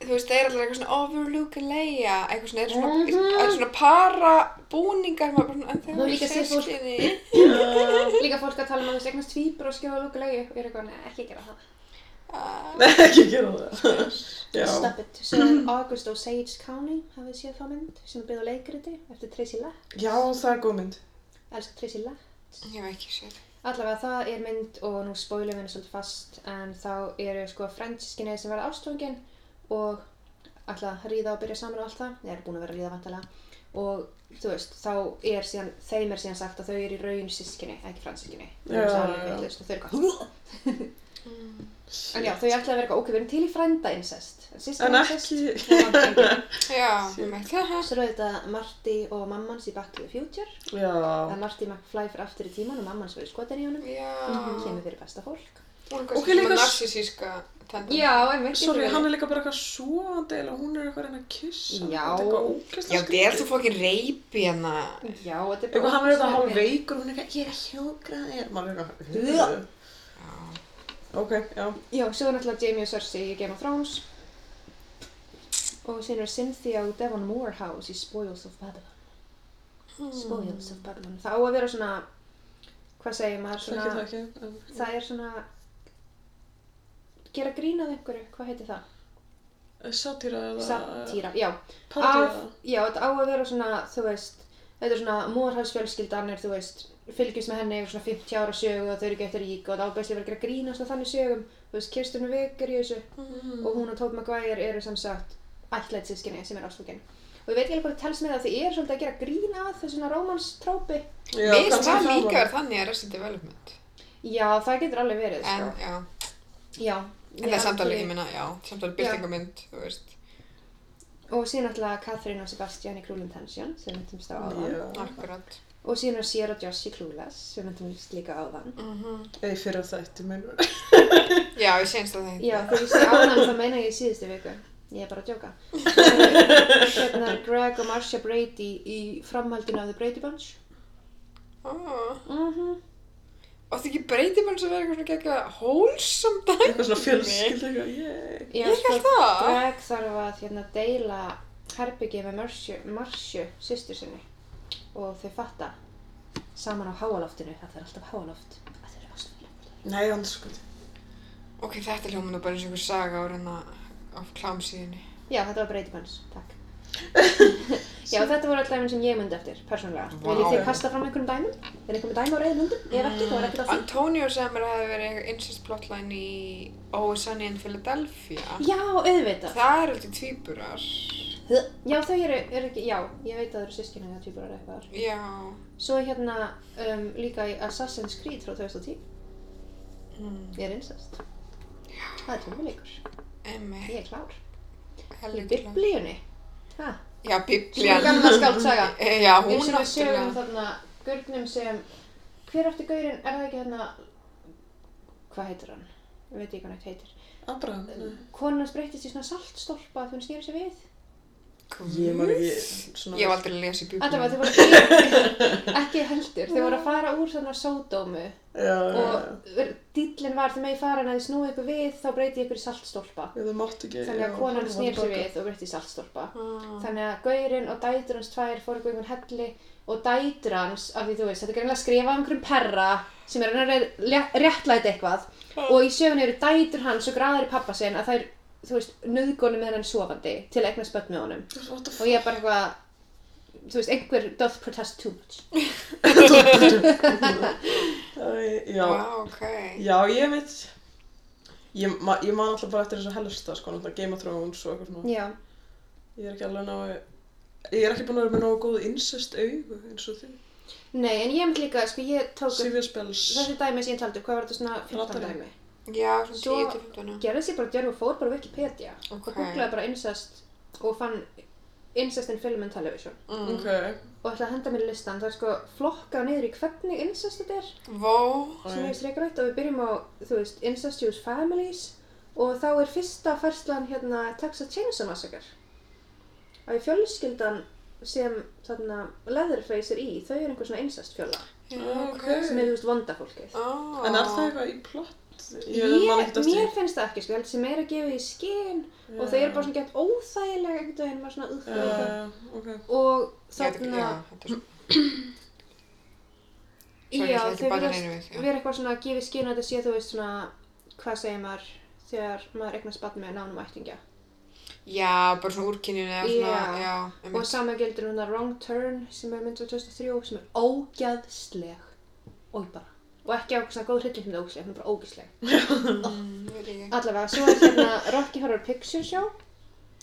[SPEAKER 1] þú veist, það er alltaf eitthvað svona overlook and Leia, eitthvað svona, eitthvað svona, eitthvað svona para búningar, maður bara svona, en
[SPEAKER 2] Nú
[SPEAKER 1] þegar
[SPEAKER 2] líka sér fólk-
[SPEAKER 1] seskinni.
[SPEAKER 2] Líka fólk að tala um að þessi eignast tvíbur og skjóða Luke og Leia og ég er eitthvað, "Nei, ekki gera það
[SPEAKER 3] nei ekki gera það. Já,
[SPEAKER 2] Stop it. Svo er August og Sage County hafið þið séð þá mynd sem er byggð á leikriti eftir Tracy Lett
[SPEAKER 3] já, það er góð mynd.
[SPEAKER 2] Elsku Tracy Lett.
[SPEAKER 1] Ég veit ekki sér.
[SPEAKER 2] Allavega það er mynd og nú spóilum við henni svolítið fast en þá eru sko fransískinni sem verða ástofungin og ætla að ríða og byrja saman og allt það. Þeir eru búin að vera að ríða vantalega og þú veist, þá er síðan, þeim er síðan sagt að þau eru í raun sískinni, ekki fransískinni.
[SPEAKER 3] Já, já.
[SPEAKER 2] Þau eru hvað. En já, þau ætla að vera eitthvað okkur, við erum til í frænda incest.
[SPEAKER 3] En
[SPEAKER 2] Sískinni
[SPEAKER 3] ekki, *laughs*
[SPEAKER 1] Já, ég veit það.
[SPEAKER 2] Svo eru þetta Marty og mammans í Back to the Future.
[SPEAKER 3] já,
[SPEAKER 2] En Marty McFly fyrir aftur í tíman og mammans verið skotin í honum.
[SPEAKER 1] Já.
[SPEAKER 2] Hún kemur fyrir besta fólk.
[SPEAKER 1] Hún er
[SPEAKER 3] Ok,
[SPEAKER 1] kannski svona
[SPEAKER 3] líka s-
[SPEAKER 1] narsisíska tendens.
[SPEAKER 2] Já, einmitt.
[SPEAKER 3] sorry, hann er líka bara eitthvað svoandi eða hún er eitthvað að reyna að kissa.
[SPEAKER 2] Já.
[SPEAKER 3] Þetta er eitthvað ógeðslega
[SPEAKER 1] Já, það er svo fokkin reypi hérna.
[SPEAKER 2] Já, þetta er
[SPEAKER 3] Eitthvað hann er eitthvað hálf veikur og hún er eitthvað, ég er að hjógra þér, maður er eitthvað, ok, já,
[SPEAKER 2] Já, svo er náttúrulega Jamie og Cersei í Game of Thrones. Og síðan er Cynthia og Devon Moorhouse í Spoils of Babylon.
[SPEAKER 3] Hmm.
[SPEAKER 1] Hmm.
[SPEAKER 2] Spoils of Babylon. Það á að vera svona, hvað segir maður,
[SPEAKER 3] ekki
[SPEAKER 2] svona,
[SPEAKER 3] það ekki, en
[SPEAKER 2] það er svona, gera grín að einhverju, hvað heitir það?
[SPEAKER 3] Satýra eh, eða
[SPEAKER 2] Satýra, já. Af,
[SPEAKER 3] Parodía.
[SPEAKER 2] já, þetta á að vera svona, þú veist, þetta er svona Moorhouse fjölskyldan er, þú veist, fylgjast með henni yfir svona 50 ára sögu og þau eru getur rík og þetta ábæðslega verið að gera grín og svona þannig sögum, þú veist, Kirsten Wiig er í þessu
[SPEAKER 1] Mhm.
[SPEAKER 2] og hún og Tobey Maguire eru sem sagt ætlætt sískinni sem er ástfókin. Og ég veit ekki alveg hvað það telst með það því ég er svolítið að gera grín að þessu svona rómanstrópi.
[SPEAKER 3] Já,
[SPEAKER 1] Mér finnst
[SPEAKER 3] kannski
[SPEAKER 1] það líka
[SPEAKER 3] var-
[SPEAKER 1] verið þannig að Resident Development.
[SPEAKER 2] Já, það getur alveg verið,
[SPEAKER 1] En,
[SPEAKER 2] sko.
[SPEAKER 1] já.
[SPEAKER 2] Já.
[SPEAKER 1] En það er samtalið, ég meina, já, samtalið
[SPEAKER 2] Já.
[SPEAKER 1] byrtingamynd, þú veist.
[SPEAKER 2] Og síðan alltaf Catherine og Sebastian í Cruel Intention sem við myndumst á áðan.
[SPEAKER 1] Ah.
[SPEAKER 3] Já,
[SPEAKER 1] Akkurat.
[SPEAKER 2] Og síðan er Sierra og Josh í Clueless sem við myndumst líka á áðan.
[SPEAKER 3] eða í fyrra þætti minn.
[SPEAKER 1] Já, ég séins það það.
[SPEAKER 2] Já, þegar ég segi ánægum þá meina ég í síðustu viku. Ég er bara að djóka. Eh, Hérna er Greg og Marcia Brady í framhaldinu af The Brady Bunch.
[SPEAKER 1] Ah.
[SPEAKER 2] Mm
[SPEAKER 1] Og það ekki breytir mann sem verður eitthvað svona gegga hólsam dag? *laughs*
[SPEAKER 3] Eitthvað svona fjölskyld, eitthvað, ég.
[SPEAKER 2] Já, sko,
[SPEAKER 1] Ég held það.
[SPEAKER 2] Greg þarf að hérna deila herbyggi með Marcia, Marcia systur sinni. Og þau fatta saman á háaloftinu. Það er alltaf háaloft. að þau eru ástfélag.
[SPEAKER 3] Nei, hann sko.
[SPEAKER 1] Ok, þetta hljóma nú bara eins og einhver saga á reyna af klámsíðinni.
[SPEAKER 2] Já, þetta var Brady Bunch. Takk.
[SPEAKER 1] *laughs*
[SPEAKER 2] Já, þetta voru alltaf dæmin sem ég myndi eftir, persónulega.
[SPEAKER 1] Vá.
[SPEAKER 2] Viljið þið kasta fram einhverjum dæmum? Er einhverjum dæmi á reyðum hundum? Ef ekki, þá er ekkert að því.
[SPEAKER 1] Antonio segði mér að það hefði verið eitthvað incest plotline í Oh, it's Sunny in Philadelphia.
[SPEAKER 2] Já, auðvitað.
[SPEAKER 1] Það er alltaf tvíburar.
[SPEAKER 2] Já, þau eru, eru ekki, já, ég veit að þau eru sískinu eða tvíburar eða eitthvað.
[SPEAKER 1] Já.
[SPEAKER 2] Svo hérna um, líka í Assassin's Creed frá 2010,
[SPEAKER 1] Mm.
[SPEAKER 2] ég er incest. Það er tölvuleikur,
[SPEAKER 1] Emmi.
[SPEAKER 2] ég er klár. Í
[SPEAKER 1] Helviti klár.
[SPEAKER 2] biblíunni, hæ?
[SPEAKER 1] Já,
[SPEAKER 2] Svona
[SPEAKER 1] biblían.
[SPEAKER 2] gamla skáldsaga.
[SPEAKER 1] Eh, *laughs* Já, hún
[SPEAKER 2] Eins og við sögum
[SPEAKER 1] náttúrulega.
[SPEAKER 2] þarna gurnum sem, hver átti gaurinn, er það ekki hérna, hvað heitir hann? Ég veit ekki hvað hann heitir.
[SPEAKER 3] Abraham, nei.
[SPEAKER 2] Konan hans breytist í svona saltstólpa þegar hún snýri sér við.
[SPEAKER 3] Ég man ekki svona...
[SPEAKER 1] Ég hef aldrei lesið bjúkuna.
[SPEAKER 2] Allavega þau voru
[SPEAKER 1] *laughs*
[SPEAKER 2] ekki heldur, þau voru að fara úr svona sódómu
[SPEAKER 3] Já, já, já.
[SPEAKER 2] og dýllin var þau megi fara en að þið snúi ykkur við þá breyti ég ykkur í saltstólpa.
[SPEAKER 3] Já, þau máttu ekki...
[SPEAKER 2] Þannig að
[SPEAKER 3] já,
[SPEAKER 2] konan
[SPEAKER 3] það var
[SPEAKER 2] snýr sér
[SPEAKER 3] baka.
[SPEAKER 2] við og breyti í saltstólpa.
[SPEAKER 1] Ah.
[SPEAKER 2] Þannig að gaurinn og dætur hans tvær fóru upp á einhvern helli og dætur hans, af því þú veist, þetta er greinlega að skrifa um einhverjum perra sem er hann að réttlæta eitthvað og í sögunni eru dætur hans og græðar í pappa sinn að þær, þú veist, nöðgónu með hennan sofandi til að eignast börn með honum
[SPEAKER 3] What the
[SPEAKER 2] og ég er bara eitthvað þú veist, einhver doth protest too much
[SPEAKER 3] fuck? Já,
[SPEAKER 1] Já, ok.
[SPEAKER 3] já, ég veit... Ég, ma ég man alltaf bara eftir þessu helsta, sko, náttúrulega Game of Thrones og eitthvað svona.
[SPEAKER 2] Já,
[SPEAKER 3] Ég er ekki alveg náðu... Ég er ekki búin að vera með náðu góð incest augu eins og því.
[SPEAKER 2] nei, en ég mynd líka, sko, ég tók upp
[SPEAKER 3] Sivja spels.
[SPEAKER 2] þessi dæmi sem ég taldi, upp, hvað var þetta svona 15
[SPEAKER 3] Ratarinn.
[SPEAKER 2] dæmi?
[SPEAKER 1] Já, svona
[SPEAKER 2] Svo-
[SPEAKER 1] 10 til 15.
[SPEAKER 2] Gerði sér bara djörf og fór bara á Wikipedia
[SPEAKER 1] Ok.
[SPEAKER 2] og googlaði bara incest og fann incest in film and television
[SPEAKER 1] Mm.
[SPEAKER 3] Ok.
[SPEAKER 2] og ætlaði að henda mér í listan, það er sko flokkað niður í hvernig incest þetta er
[SPEAKER 1] Vó.
[SPEAKER 2] sem ég streikar rætt og við byrjum á, þú veist, incestuous families og þá er fyrsta færslan hérna Texas Chainsaw Massacre að fjölskyldan sem þarna Leatherface er í, þau eru einhver svona incest fjöla
[SPEAKER 1] Já,
[SPEAKER 3] Ok.
[SPEAKER 2] sem er, þú veist, vonda fólkið
[SPEAKER 1] Ah.
[SPEAKER 3] En er það eitthvað í plott?
[SPEAKER 2] Ég,
[SPEAKER 3] man ekkert eftir
[SPEAKER 2] mér
[SPEAKER 3] því.
[SPEAKER 2] finnst það ekki, sko, ég held sem er að gefa í skinn og
[SPEAKER 3] Já.
[SPEAKER 2] þau eru bara svona gett óþægilega einhvern veginn, maður svona uff uh,
[SPEAKER 3] Já, Eh, ok.
[SPEAKER 2] og
[SPEAKER 1] Ég veit ekki-
[SPEAKER 2] þarna, Mm,
[SPEAKER 1] já, þetta er svo-
[SPEAKER 2] já,
[SPEAKER 1] Sorry, ég ætla ekki að
[SPEAKER 2] þau
[SPEAKER 1] bæta
[SPEAKER 2] virðast-
[SPEAKER 1] neinu við, já.
[SPEAKER 2] vera eitthvað svona að gefa í skinn að þetta sé, þú veist, svona hvað segir maður þegar maður eignast bann með nánum ættingja
[SPEAKER 1] Já, bara svona úrkynjun eða svona,
[SPEAKER 2] Já.
[SPEAKER 1] já,
[SPEAKER 2] Og
[SPEAKER 1] einmitt.
[SPEAKER 2] sama gildur um það Wrong Turn sem er mynd frá 2003 sem er ógæðsleg og bara og ekki á svona góð hryllum með ógæðsleg, hún er bara ógæðsleg
[SPEAKER 1] Mm, veit ekki.
[SPEAKER 2] Allavega, svo er hérna Rocky Horror Picture Show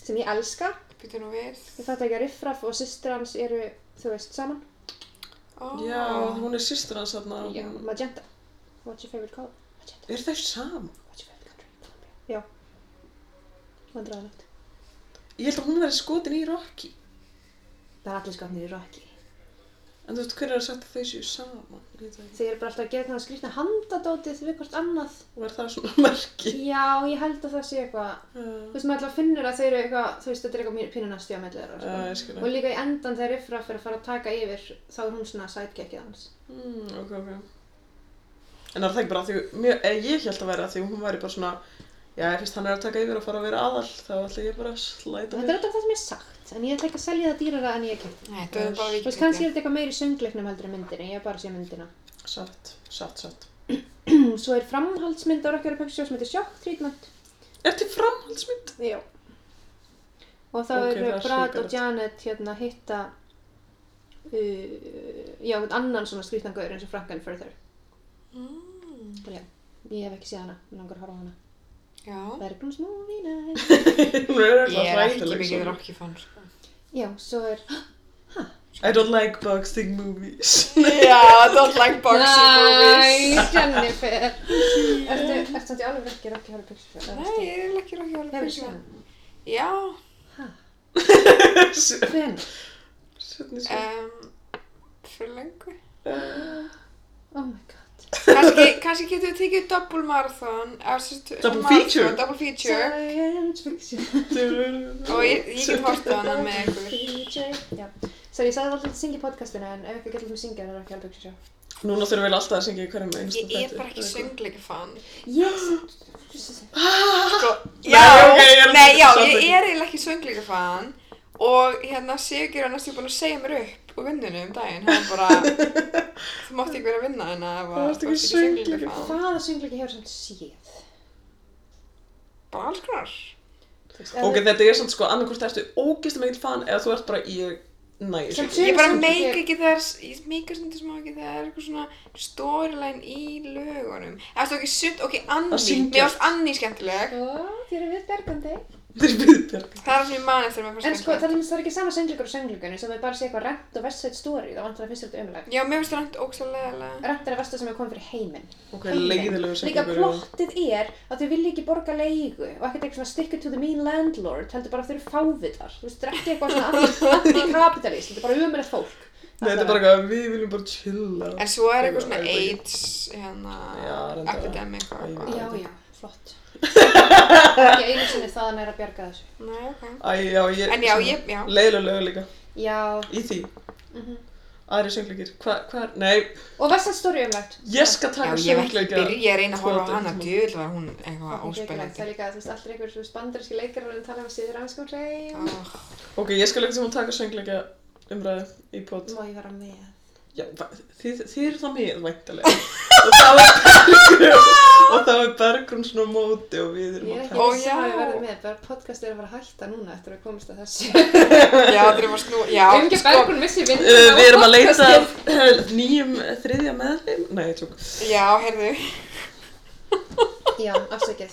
[SPEAKER 2] sem ég elska
[SPEAKER 1] Býtu nú við.
[SPEAKER 2] ég fætti ekki að Riffraff og systra hans eru þú veist saman
[SPEAKER 1] Ah.
[SPEAKER 3] Já, hún er sýstur hans þarna. og
[SPEAKER 2] Já,
[SPEAKER 3] hún-
[SPEAKER 2] Magenta What's your favorite color? Magenta
[SPEAKER 3] Er þau saman?
[SPEAKER 2] What's your favorite country? Colombia Já Vandræðalegt
[SPEAKER 3] Ég held að hún verði skotin í Rocky.
[SPEAKER 2] Það er allir skapnir í Rocky
[SPEAKER 3] En þú veist, hver er að setja þau séu saman? Ég veit það ekki.
[SPEAKER 2] Þeir eru bara alltaf að gera þannig að skrýtna handadótið við hvort annað
[SPEAKER 3] Og er það svona *laughs* merki?
[SPEAKER 2] Já, ég held að það sé eitthvað
[SPEAKER 3] Uh,
[SPEAKER 2] Þú veist, maður alltaf finnur að þau eru eitthvað, þú veist, þetta er eitthvað pínu næstu á mellið þeirra, sko.
[SPEAKER 3] uh, ég skil
[SPEAKER 2] og
[SPEAKER 3] það.
[SPEAKER 2] líka í endan þegar Ifra fyrir að fara að taka yfir, þá er hún svona sidekickið hans.
[SPEAKER 3] Mm, ok, ok. En það er það ekki bara að því, mjö, ég held að vera að því hún væri bara svona, já, fyrst hann er að taka yfir og fara að vera aðall, þá ætla ég bara að slæta
[SPEAKER 2] Þetta er alltaf það sem ég hef sagt, en ég ætla ekki að selja það dýrara en ég kemd.
[SPEAKER 1] Nei, Þetta er bara
[SPEAKER 2] Þú veist, kannski er þetta eitthvað meiri söngleiknum heldur en myndinni, ég hef bara séð myndina.
[SPEAKER 3] Satt, satt, satt.
[SPEAKER 2] Mm, Svo er framhaldsmynd á Rokkjara Pöksjó sem heitir Shock Treatment.
[SPEAKER 3] Er til framhaldsmynd? *laughs*
[SPEAKER 2] Já. Og þá
[SPEAKER 3] Ok, það
[SPEAKER 2] eru
[SPEAKER 3] er
[SPEAKER 2] Brad og
[SPEAKER 3] hrikalegt.
[SPEAKER 2] Janet hérna að hitta, uh, já, einhvern annan svona skrýtnangaur eins og Frankenfurther.
[SPEAKER 1] Mm,
[SPEAKER 2] Já, ég hef ekki séð hana, mér langar að horfa á hana.
[SPEAKER 1] já.
[SPEAKER 2] Bergrúns movie night.
[SPEAKER 3] Hún er
[SPEAKER 1] Ég
[SPEAKER 3] eitthvað
[SPEAKER 1] er ekki
[SPEAKER 3] hræðileg,
[SPEAKER 1] mikið
[SPEAKER 3] svona.
[SPEAKER 1] Rocky fan, sko.
[SPEAKER 2] Já, svo er...
[SPEAKER 3] I don't like boxing
[SPEAKER 1] *laughs*
[SPEAKER 3] movies.
[SPEAKER 1] Já, don't like boxing movies.
[SPEAKER 2] Næ, Jennifer! Ertu, ertu samt í alveg ekki Rocky Horror Picture Show?
[SPEAKER 1] Nei, ég vil ekki Rocky Horror
[SPEAKER 2] Hefur
[SPEAKER 1] Picture
[SPEAKER 2] séð
[SPEAKER 1] Show.
[SPEAKER 2] hann?
[SPEAKER 1] Já,
[SPEAKER 2] Hvenær?
[SPEAKER 3] Sjöfni svo.
[SPEAKER 1] um, fyrir lengu. Eh.
[SPEAKER 2] Oh my god.
[SPEAKER 1] Kannski, kannski getum við tekið double marathon. eða sem sagt,
[SPEAKER 3] Double
[SPEAKER 1] marathon,
[SPEAKER 3] feature?
[SPEAKER 1] Double feature.
[SPEAKER 2] Science fiction.
[SPEAKER 1] Og ég, ég get hort
[SPEAKER 3] *laughs*
[SPEAKER 1] á hana með ykkur.
[SPEAKER 2] Feature. Já. Sorry, ég sagði alltaf að syngja í podcastinu en ef ekki getur við syngja það Rocky Horror Picture Show.
[SPEAKER 3] Núna þurfum við alltaf að syngja í hverjum einasta
[SPEAKER 1] Ég er bara ekki söngleika fan.
[SPEAKER 3] *gasps*
[SPEAKER 2] Yes!
[SPEAKER 1] Sko, já,
[SPEAKER 3] Ah! ok, ég er
[SPEAKER 1] nei, já,
[SPEAKER 3] samþykk.
[SPEAKER 1] ég er eiginlega ekki söngleika fan. Og hérna, Sigur er næstu búin að segja mér upp úr vinnunni um daginn. Hann
[SPEAKER 3] *laughs*
[SPEAKER 1] var bara, þú mátti ekki vera að vinna hérna ef
[SPEAKER 3] Þú
[SPEAKER 1] að
[SPEAKER 3] ert
[SPEAKER 1] þú
[SPEAKER 3] ekki
[SPEAKER 1] ert ekki söngleika
[SPEAKER 3] söngleikafan.
[SPEAKER 1] fan.
[SPEAKER 2] Hvaða söngleiki hefur samt séð?
[SPEAKER 1] Bara alls konar.
[SPEAKER 2] Þú veist,
[SPEAKER 3] Ok,
[SPEAKER 2] ef-
[SPEAKER 3] þetta er samt sko, annarkvort ertu ógeðslega mikil fan eða þú ert bara í næs.
[SPEAKER 2] Samt
[SPEAKER 1] Ég bara
[SPEAKER 2] Sumir
[SPEAKER 1] meika
[SPEAKER 2] samt-
[SPEAKER 1] ekki þegar, ég meika stundum smá ekki þegar það er eitthvað svona storyline í lögunum. Eftir ekki sumt, ok, Anni,
[SPEAKER 3] Að syngja.
[SPEAKER 1] mér varst Anni skemmtileg.
[SPEAKER 2] Ó, þér eru við bergandi.
[SPEAKER 3] Þetta er viðbjörg.
[SPEAKER 1] Það er það sem ég man eftir með
[SPEAKER 2] En
[SPEAKER 1] fyrst
[SPEAKER 2] sko, það er, það er ekki sama söngleikur og söngleikunni sem við bara sé eitthvað rent og vestsætt story, þá vantar það fyrst þetta umlega.
[SPEAKER 1] Já, mér finnst það nætt ógstæðlega leðilega.
[SPEAKER 2] Rætt er að versta sem hefur komið fyrir heiminn.
[SPEAKER 3] Ok, leiðilegu
[SPEAKER 2] Líka
[SPEAKER 3] söngleikur.
[SPEAKER 2] plottið er að þau vilja ekki borga leigu og ekkert eitthvað svona stick it to the mean landlord, heldur bara að þau eru fávitar. Þú veist, þetta er ekki eitthvað svona
[SPEAKER 3] *laughs*
[SPEAKER 2] anti-kapitalist, þetta er bara umöðilegt fólk.
[SPEAKER 3] Nei, þetta er bara eitthvað, við viljum bara chilla.
[SPEAKER 1] En svo er eitthvað
[SPEAKER 3] Ég
[SPEAKER 1] svona
[SPEAKER 3] veit ekki.
[SPEAKER 1] AIDS,
[SPEAKER 3] Já,
[SPEAKER 1] hérna,
[SPEAKER 3] reyndar.
[SPEAKER 1] epidemic og
[SPEAKER 3] Æ, ég veit
[SPEAKER 1] eitthvað.
[SPEAKER 2] Já, já.
[SPEAKER 1] *laughs*
[SPEAKER 2] flott. Ekki einu sinni þaðan er að bjarga þessu.
[SPEAKER 1] Nei, ok.
[SPEAKER 3] Æ, já, ég...
[SPEAKER 1] En já, ég- já. Mhm.
[SPEAKER 3] Leiðilega líka.
[SPEAKER 2] Já,
[SPEAKER 3] Í því. Aðri söngleikir. Hvað, hvað, nei,
[SPEAKER 2] og vestan stóri umlegt.
[SPEAKER 3] ég skal
[SPEAKER 1] Já,
[SPEAKER 3] taka
[SPEAKER 1] ég veit,
[SPEAKER 3] söngleika.
[SPEAKER 1] byrja að reyna að horfa á
[SPEAKER 3] Tvöfaldan
[SPEAKER 1] hana,
[SPEAKER 3] tíma.
[SPEAKER 1] djöðl var hún eitthvað
[SPEAKER 2] Það er
[SPEAKER 1] óspennandi.
[SPEAKER 2] líka, þú veist, allir einhver svona bandaríski leikarar að tala um síður anskum reym.
[SPEAKER 1] Ah,
[SPEAKER 3] Ok, ég skal ekki sem að taka söngleika umræðu í pot.
[SPEAKER 2] Má ég vera með?
[SPEAKER 3] Já, va- þið, þið eru það með,
[SPEAKER 1] *laughs*
[SPEAKER 3] væntalega. og þá er Bergrún, og þá er Bergrún svona á móti og við erum
[SPEAKER 2] Ég er
[SPEAKER 3] að
[SPEAKER 2] ekki
[SPEAKER 3] tala.
[SPEAKER 1] Ó,
[SPEAKER 2] viss
[SPEAKER 1] já.
[SPEAKER 2] um að hafa verið með, bara podcast er að vera að hætta núna eftir að komast að þessu.
[SPEAKER 1] Já, þeir eru að snú, já, sko.
[SPEAKER 2] Umgja Bergrún vissi vindur
[SPEAKER 3] Uh, við erum að leita að nýjum þriðja meðlum. Nei, ég tjók.
[SPEAKER 1] já, heyrðu,
[SPEAKER 2] Já, afsakið.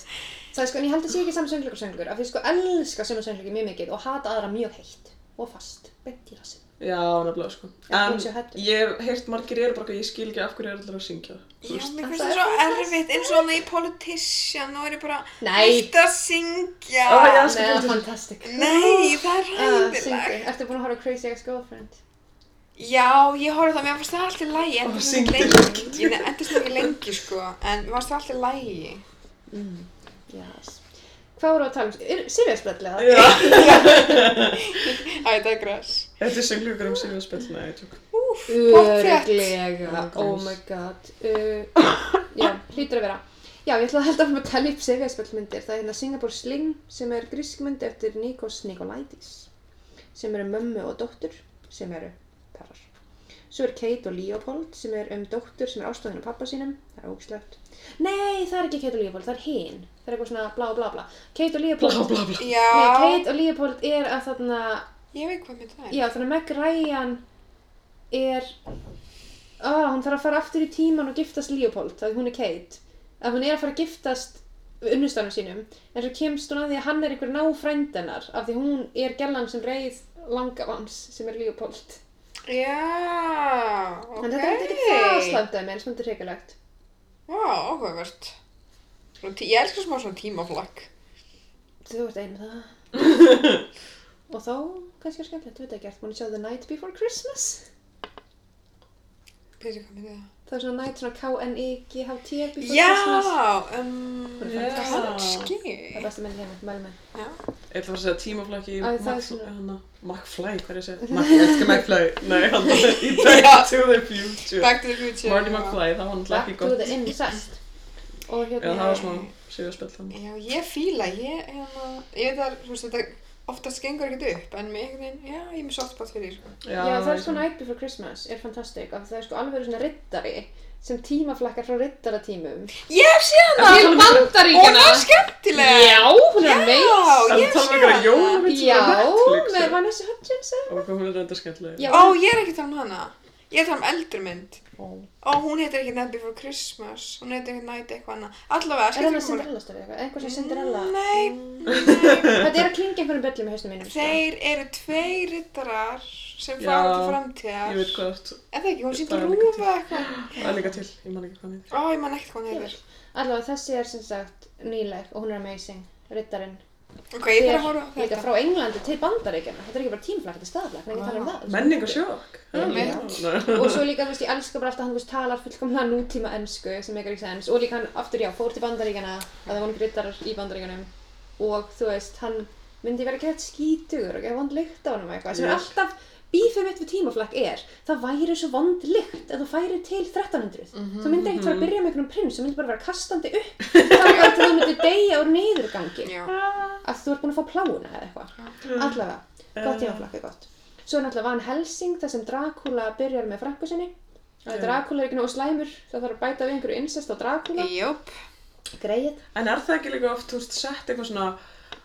[SPEAKER 2] Það er sko, en ég held að sé ekki saman söngleikur og söngleikur, af því ég sko elska sömu söngleikur mjög mikið og hata aðra mjög heitt og fast, beint í rassin.
[SPEAKER 3] Já, nefnilega, sko.
[SPEAKER 2] Já,
[SPEAKER 3] En
[SPEAKER 2] hún sé hrædd.
[SPEAKER 3] ég hef heyrt margir eru bara eitthvað, ég skil ekki af hverju eru allir að syngja. Þú
[SPEAKER 1] já,
[SPEAKER 3] veist,
[SPEAKER 1] mér
[SPEAKER 2] en
[SPEAKER 1] finnst
[SPEAKER 2] það
[SPEAKER 1] það
[SPEAKER 2] er
[SPEAKER 1] svo
[SPEAKER 2] bara
[SPEAKER 1] erfitt, eins og hann í Politician, nú er ég bara
[SPEAKER 2] Nei.
[SPEAKER 1] hætt að syngja.
[SPEAKER 3] Ó, já, sko.
[SPEAKER 2] Nei, fantastic.
[SPEAKER 1] Nei, það er
[SPEAKER 2] Uh,
[SPEAKER 1] hættilegt.
[SPEAKER 2] syngdu. Ertu búin að horfa á Crazy Ex-Girlfriend?
[SPEAKER 1] Já, ég horfði það, mér fannst það alltaf lægi,
[SPEAKER 3] Ó,
[SPEAKER 1] endist
[SPEAKER 3] syngdu.
[SPEAKER 1] ekki lengi, ég nefndi endist ekki lengi sko, en mér fannst það alltaf lægi.
[SPEAKER 2] Yes. Hvað voru að tala um? Sirius Bradley, það?
[SPEAKER 3] Já,
[SPEAKER 1] Æ, það er græs.
[SPEAKER 3] þetta er söngleikur um Silvíu Spell, nei, ég tjók.
[SPEAKER 1] Úf, pottþétt.
[SPEAKER 2] Örglega, oh my god uh, Já, hlýtur að vera Já, ég ætla að held að að tala upp sefjarspöldmyndir Það er hérna Singapore Sling sem er grískmynd eftir Nikos Nikolaitis sem eru mömmu og dóttur sem eru parar Svo er Kate og Leopold sem er um dóttur sem er ástofin af pappa sínum Það er ógislegt Nei, það er ekki Kate og Leopold, það er hin Það er eitthvað svona bla bla bla Kate og Leopold
[SPEAKER 3] Bla, bla, *laughs* bla.
[SPEAKER 2] Nei,
[SPEAKER 1] Já,
[SPEAKER 2] Kate og Leopold er að þarna
[SPEAKER 1] ég veit hvað mér það er.
[SPEAKER 2] Já, þannig að Meg Ryan er ah, hún þarf að fara aftur í tíman og giftast Leopold, það hún er Kate að hún er að fara að giftast unnustanum sínum, en svo kemst hún að því að hann er einhver náfrændennar, af því hún er gellan sem reið langavans sem er Leopold.
[SPEAKER 1] Já, ok.
[SPEAKER 2] En þetta er ekki það slæmdaði mér, þetta er hrikalegt.
[SPEAKER 1] Vá, áhugavert. Svona tí- Ég elskar smá svona tímaflakk.
[SPEAKER 2] Þú ert einu það. og þá, kannski er skemmtilegt, þú veit ekki, ert búin að sjá The Night Before Christmas?
[SPEAKER 1] Písi, hvað myndi það?
[SPEAKER 2] Það er svona night, svona K-N-I-G-H-T Before Christmas.
[SPEAKER 1] Já, um,
[SPEAKER 2] Hún
[SPEAKER 3] er
[SPEAKER 1] kannski.
[SPEAKER 2] Það er besta myndi hérna, mælum með.
[SPEAKER 1] Já.
[SPEAKER 3] Ég ætla að fara að segja tímaflæki í
[SPEAKER 2] Æ, það er
[SPEAKER 3] Max-
[SPEAKER 2] svona-
[SPEAKER 3] hana, McFly, hvað
[SPEAKER 2] *laughs*
[SPEAKER 3] er ég að segja? Mac- Ég elskar McFly, nei, hann er í
[SPEAKER 1] Já.
[SPEAKER 3] Back to the Future.
[SPEAKER 1] Back to the future.
[SPEAKER 3] Marty McFly, það var hann
[SPEAKER 2] Back
[SPEAKER 3] ekki
[SPEAKER 2] to the
[SPEAKER 3] gott.
[SPEAKER 2] incest og
[SPEAKER 3] Já,
[SPEAKER 2] hérna
[SPEAKER 3] það var smá Silvíu Spell þannig.
[SPEAKER 1] Já, ég fíla, ég, hérna, ég veit að, þú veist, þetta oftast gengur ekkert upp, en mér einhvern veginn, já, ég er með softbot fyrir, sko.
[SPEAKER 2] já, það er sko Night Before Christmas er fantastic af því það er sko alveg svona riddari sem tímaflakkar frá riddaratímum
[SPEAKER 1] Ég hef séð hana!
[SPEAKER 2] til
[SPEAKER 1] Og *laughs* það
[SPEAKER 2] bandaríkjana
[SPEAKER 1] er skemmtileg!
[SPEAKER 2] já, hún er
[SPEAKER 1] Já,
[SPEAKER 2] meins
[SPEAKER 3] En
[SPEAKER 1] ég
[SPEAKER 3] það
[SPEAKER 1] sé
[SPEAKER 3] var um eitthvað
[SPEAKER 1] hana.
[SPEAKER 3] jólavits
[SPEAKER 2] já,
[SPEAKER 3] Netflix.
[SPEAKER 2] með Vanessa Hudgens eða?
[SPEAKER 3] Og hvað hún er þetta skemmtilega.
[SPEAKER 2] já,
[SPEAKER 1] Ó, ég er ekki að tala um hana. Ég er að tala um eldri mynd. Ó, hún heitir ekki Night Before Christmas, hún heitir ekki Night eitthvað annað. Allavega,
[SPEAKER 2] er það
[SPEAKER 1] skemmtileg
[SPEAKER 2] með Cinderella story eitthvað, eitthvað sem Cinderella Mm.
[SPEAKER 1] Nei, nei.
[SPEAKER 2] þetta er að klinga einhverjum bjöllum í hausnum mínum sko.
[SPEAKER 1] Þeir eru tvei rittarar sem
[SPEAKER 3] Já,
[SPEAKER 1] fara til framtíðar.
[SPEAKER 3] Ég veit hvað þú
[SPEAKER 1] En það ekki, hún sýndi
[SPEAKER 3] Það er líka
[SPEAKER 1] rúfa eitthvað.
[SPEAKER 3] Það er líka til, ég man ekki hvað hann heitir.
[SPEAKER 1] Ó, ég man ekkert hvað hún heitir.
[SPEAKER 2] allavega þessi er sem sagt nýleg og hún er amazing, riddarinn
[SPEAKER 1] Ok, ég þarf að horfa á
[SPEAKER 2] Þeir- líka
[SPEAKER 1] þetta.
[SPEAKER 2] frá Englandi til bandaríkjana þetta er ekki bara tímaflakk, þetta er staðflakk, það er ekki að tala
[SPEAKER 1] Ah.
[SPEAKER 2] um það
[SPEAKER 3] Menningarsjók.
[SPEAKER 2] Einmitt. og svo líka, þú veist, ég elska bara alltaf að hann þú veist, talar fullkomlega nútíma ennsku sem megar ekki sens og líka hann aftur, já, fór til bandaríkjana að það var einhver rittarar í bandaríkjanum og þú veist, hann myndi vera greitt skítugur og ekki vond lykt á hann eitthvað sem er
[SPEAKER 3] Já.
[SPEAKER 2] alltaf bífið mitt við tímaflakk er það væri svo vond lykt að þú færi til 1300 þú myndir ekkert fara að byrja með einhvern prins þú myndir bara vera kastandi upp þannig að þú myndir deyja úr niðurgangi
[SPEAKER 1] Já.
[SPEAKER 2] að þú ert búin að fá pláuna eða
[SPEAKER 3] Mm.
[SPEAKER 2] eitthvað allavega,
[SPEAKER 3] Eh.
[SPEAKER 2] gott tímaflakk er gott svo er náttúrulega Van Helsing þar sem Dracula byrjar með frækku sinni að
[SPEAKER 3] Já.
[SPEAKER 2] Dracula er ekki nógu slæmur það þarf að bæta við einhverju incest á Dracula
[SPEAKER 1] Júp.
[SPEAKER 2] greið,
[SPEAKER 3] *laughs* En er það ekki líka oft, þú veist, sett eitthvað svona,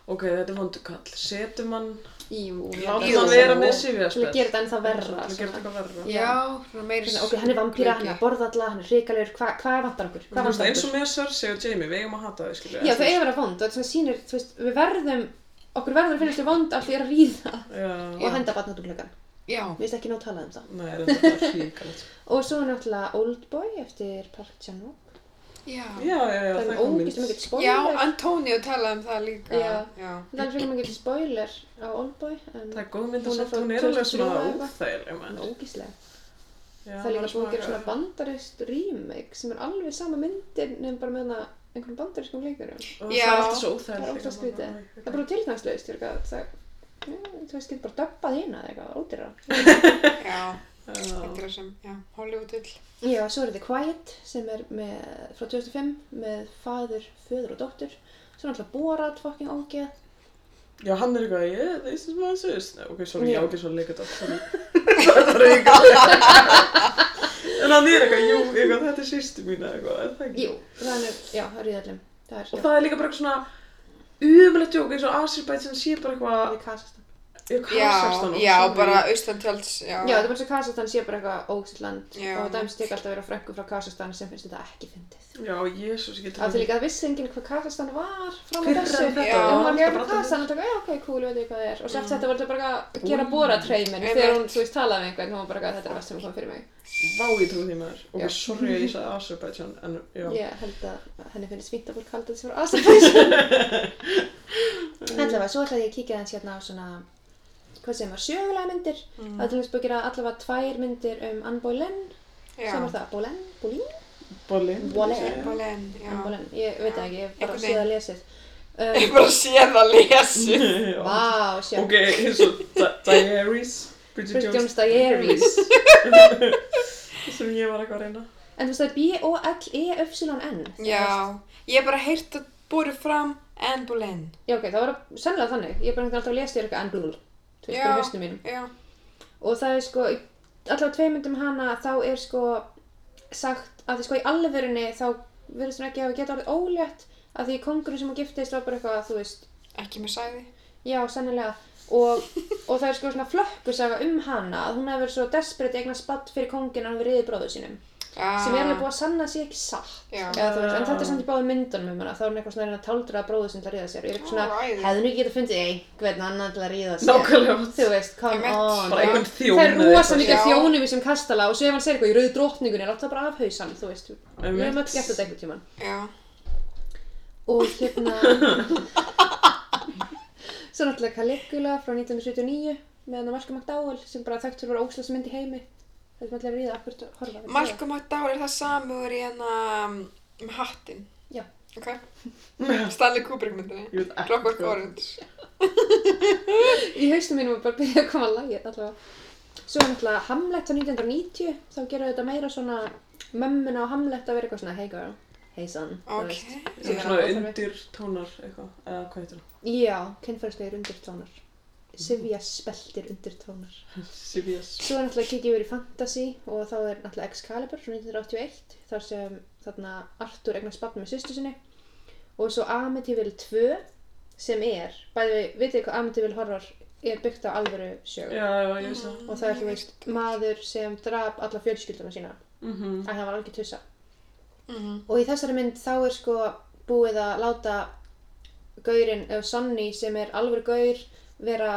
[SPEAKER 3] ok, þetta er vondu kall, setum hann,
[SPEAKER 2] jú
[SPEAKER 3] látum
[SPEAKER 1] Jú.
[SPEAKER 3] hann vera með sifjaspell.
[SPEAKER 2] til að gera þetta ennþá verra
[SPEAKER 3] Til að gera þetta eitthvað verra.
[SPEAKER 2] Já.
[SPEAKER 1] Já, svona meiri
[SPEAKER 2] Svona, ok, hann er vampýra, hann er að borða alla, hann er hrikalegur hvað hva vantar okkur,
[SPEAKER 3] Þú
[SPEAKER 2] hvað
[SPEAKER 3] veist,
[SPEAKER 2] vantar
[SPEAKER 3] eins og
[SPEAKER 2] okkur
[SPEAKER 3] með Cersei og Jaime, við eigum að hata þau, skilja.
[SPEAKER 2] já, þau eiga að vera vond og þetta svona sýnir, þú veist, við verðum okkur verður að finnast þau vond af því að ríða
[SPEAKER 3] Já.
[SPEAKER 2] og henda barnatúrleikan,
[SPEAKER 1] Já.
[SPEAKER 2] við veist ekki nóg talað um það
[SPEAKER 3] Nei, þetta er hríkalegt.
[SPEAKER 2] og svo er náttúrulega Oldboy eftir Park Chan-wook
[SPEAKER 1] Já.
[SPEAKER 3] Já, já, já,
[SPEAKER 2] það
[SPEAKER 3] það
[SPEAKER 2] er
[SPEAKER 3] kom
[SPEAKER 2] ógist um
[SPEAKER 3] mynd.
[SPEAKER 1] Já,
[SPEAKER 2] ekkert spoiler
[SPEAKER 1] Antonio talaði um það líka.
[SPEAKER 2] Já.
[SPEAKER 1] Já.
[SPEAKER 2] Það er fyrir mikið spoiler á Oldboy en
[SPEAKER 3] Það er góð mynd
[SPEAKER 2] Hún
[SPEAKER 3] að
[SPEAKER 2] er
[SPEAKER 3] setja,
[SPEAKER 2] frá
[SPEAKER 3] hún er alveg
[SPEAKER 2] 2003
[SPEAKER 3] svona
[SPEAKER 2] eða eitthvað.
[SPEAKER 3] óþægileg,
[SPEAKER 2] það
[SPEAKER 3] mann.
[SPEAKER 2] er ógíslega.
[SPEAKER 3] Já,
[SPEAKER 2] Það er líka
[SPEAKER 3] maður
[SPEAKER 2] búið að gera
[SPEAKER 3] smakar-
[SPEAKER 2] svona bandarist remake sem er alveg sama myndin nefn bara með hana einhvern bandarískum leikurum.
[SPEAKER 3] Og
[SPEAKER 1] Já.
[SPEAKER 3] það er alltaf svo
[SPEAKER 2] Það er
[SPEAKER 3] óþægilegt.
[SPEAKER 2] ótrúlega skrítið. Það er bara tilgangslaust, ég er eitthvað, það, mm, þú veist, getur bara döbbað hérna eða eitthvað, ódýra.
[SPEAKER 1] Já,
[SPEAKER 3] bara...
[SPEAKER 1] þetta er sem, já, Hollywood-vill.
[SPEAKER 2] Já, svo er The Quiet sem er með, frá 2005 með faður, föður og dóttur. Svo er alltaf Borat fucking ógeð.
[SPEAKER 3] Já, hann er eitthvað, yeah, this is my sister. Ok, sorry,
[SPEAKER 2] Já.
[SPEAKER 3] ég á ekki svo leikert oft. *laughs* Það er eitthvað. En hann er eitthvað, jú, eitthvað, þetta er sýstu mín, eitthvað, er það ekki?
[SPEAKER 2] Jú, það er, já, það er í öllum. Það er,
[SPEAKER 3] Og það er líka bara eitthvað svona umulegt jók, eins og Asirbætsson sé bara
[SPEAKER 2] það
[SPEAKER 3] eitthvað,
[SPEAKER 2] er Kasastan.
[SPEAKER 3] ég
[SPEAKER 1] Já,
[SPEAKER 3] kasast hann.
[SPEAKER 1] já, bara austantjölds, já.
[SPEAKER 2] Já, það er bara svo Kasastan sé bara eitthvað ógstilt land
[SPEAKER 1] Já.
[SPEAKER 2] og dæmis tek alltaf að vera frængu frá Kasastan sem finnst þetta ekki fyndið.
[SPEAKER 1] Mm.
[SPEAKER 3] Já, jésús, ég get
[SPEAKER 2] Af því líka að vissi enginn hvað Kasastan var frá
[SPEAKER 3] Fyrr
[SPEAKER 2] með
[SPEAKER 3] en
[SPEAKER 2] þessu.
[SPEAKER 3] þetta,
[SPEAKER 1] já. Mm.
[SPEAKER 2] Og hún var
[SPEAKER 3] Þetta
[SPEAKER 2] mjög
[SPEAKER 3] bara
[SPEAKER 2] með Kasastan og það var, já, ok, cool, ég veit ekki hvað það er. Og svo eftir þetta var þetta bara að gera
[SPEAKER 3] Ú.
[SPEAKER 2] Borat hreiminn
[SPEAKER 1] Einmitt.
[SPEAKER 2] þegar hún, þú veist, talaði með einhvern, hún var bara eitthvað, þetta er vest sem kom fyrir mig.
[SPEAKER 3] Vá, ég trú því maður. Ok,
[SPEAKER 2] Já.
[SPEAKER 3] sorry að ég sagði Azerbaijan, en já.
[SPEAKER 2] Ég held að henni finnst fínt að fólk halda þessi frá
[SPEAKER 1] *laughs*
[SPEAKER 2] Azerbaijan. allavega, svo ætlaði ég að kíkja aðeins hérna á svona, hvað sem var sjögulega myndir. Mm. Það er til dæmis búið að gera allavega tvær myndir um Anne Boleyn,
[SPEAKER 1] Já.
[SPEAKER 2] sem var það, Boleyn, Boleyn,
[SPEAKER 3] Bolli.
[SPEAKER 2] Bolli.
[SPEAKER 3] *laughs*
[SPEAKER 1] Balen, já.
[SPEAKER 2] Anne Boleyn, ég veit það ekki, ég hef bara
[SPEAKER 1] Einhvern
[SPEAKER 2] séð að lesið. Um,
[SPEAKER 1] *laughs* Ég bara séð að lesi.
[SPEAKER 2] Mm.
[SPEAKER 3] Vá.
[SPEAKER 2] Vá, sjá,
[SPEAKER 3] Ok, eins og Di- Diaries, Bridget
[SPEAKER 2] Bridget Jones
[SPEAKER 3] Jones,
[SPEAKER 2] Diaries.
[SPEAKER 3] *laughs* sem ég var eitthvað að reyna.
[SPEAKER 2] en þú veist það er E B-O-L-E-Y-N.
[SPEAKER 1] Já, ég hef bara heyrt að búið fram en Balen.
[SPEAKER 2] Já, ok, það var sannlega þannig. Ég er bara einhvern veginn alltaf að lesa þér eitthvað Anne Boleyn, þú veist,
[SPEAKER 1] Já.
[SPEAKER 2] bara höstum mínum.
[SPEAKER 1] Já,
[SPEAKER 2] og það er sko í allavega tveimundum hana þá er sko sagt að því sko í alvörunni þá verðist hún ekki að geta orðið ólétt að því kongurinn sem hún giftist var bara eitthvað þú veist,
[SPEAKER 1] ekki með sæði.
[SPEAKER 2] já sannilega og, og það er sko svona flökkusaga um hana að hún hefur verið svo desperate eigna spatt fyrir kongin að hann verið bróðu sínum
[SPEAKER 1] Ah,
[SPEAKER 2] sem er alveg búið að sanna sig ekki satt
[SPEAKER 1] Já.
[SPEAKER 2] Eða, þú veist, en þetta er samt í báði myndunum um hana þá er hún eitthvað svona að reyna að táldraða bróðu sinni til að ríða sér og ég er eitthvað svona,
[SPEAKER 1] Alright.
[SPEAKER 2] hefði hún ekki getað fundið einhvern annan til að ríða sér
[SPEAKER 3] Nákvæmlega.
[SPEAKER 2] þú veist, come
[SPEAKER 1] Einmitt.
[SPEAKER 2] on
[SPEAKER 3] Bara einhvern þjón.
[SPEAKER 2] það er rosa mikið
[SPEAKER 1] Já.
[SPEAKER 2] af þjónum í sem kastala og svo ef hann segir eitthvað í rauðu drottningunni er alltaf bara af hausan, þú veist við
[SPEAKER 3] Einmitt.
[SPEAKER 2] höfum öll gert þetta einhvern tíman
[SPEAKER 1] Já.
[SPEAKER 2] og hérna *laughs* svo náttúrulega Caligula frá 1979 með hann að Malcolm McDowell sem bara þekkt fyrir að vera óslæst mynd í heimi það er alltaf að ríða, akkur horfa á það.
[SPEAKER 1] Malcolm McDowell er það samur í hana um, hattinn.
[SPEAKER 2] Já.
[SPEAKER 1] Ok. Stanley Kubrick myndinni.
[SPEAKER 3] Ég veit ekki
[SPEAKER 1] Clockwork
[SPEAKER 3] hvað-
[SPEAKER 1] Orange.
[SPEAKER 2] í haustum mínum er bara byrjað að koma að lagið allavega svo er náttúrulega Hamlet á 1990 þá gera þetta meira svona mömmuna á Hamlet að vera eitthvað svona hey girl, hey son þú
[SPEAKER 1] Ok.
[SPEAKER 2] veist.
[SPEAKER 3] Sem
[SPEAKER 2] Já,
[SPEAKER 3] svona
[SPEAKER 2] óþarfi.
[SPEAKER 3] undir tónar eitthvað, eða hvað heitir *laughs* það?
[SPEAKER 2] já, kynferðslegir undir tónar Sivja speltir undir tónar
[SPEAKER 3] CBS.
[SPEAKER 2] Svo er náttúrulega kikið yfir í fantasy og þá er náttúrulega Excalibur frá 1981 þar sem þarna Arthur eignast barn með sýstu sinni og svo Amityville 2 sem er, bæði við, vitið þið hvað Amityville horror er byggt á alvöru sögu
[SPEAKER 3] Já, já, ég veist það.
[SPEAKER 2] og það er þú veist maður sem draf alla fjölskylduna sína
[SPEAKER 3] Mhm.
[SPEAKER 2] að það var algjör tussa
[SPEAKER 1] Mhm.
[SPEAKER 2] og í þessari mynd þá er sko búið að láta gaurinn, eða Sonny sem er alvöru gaur vera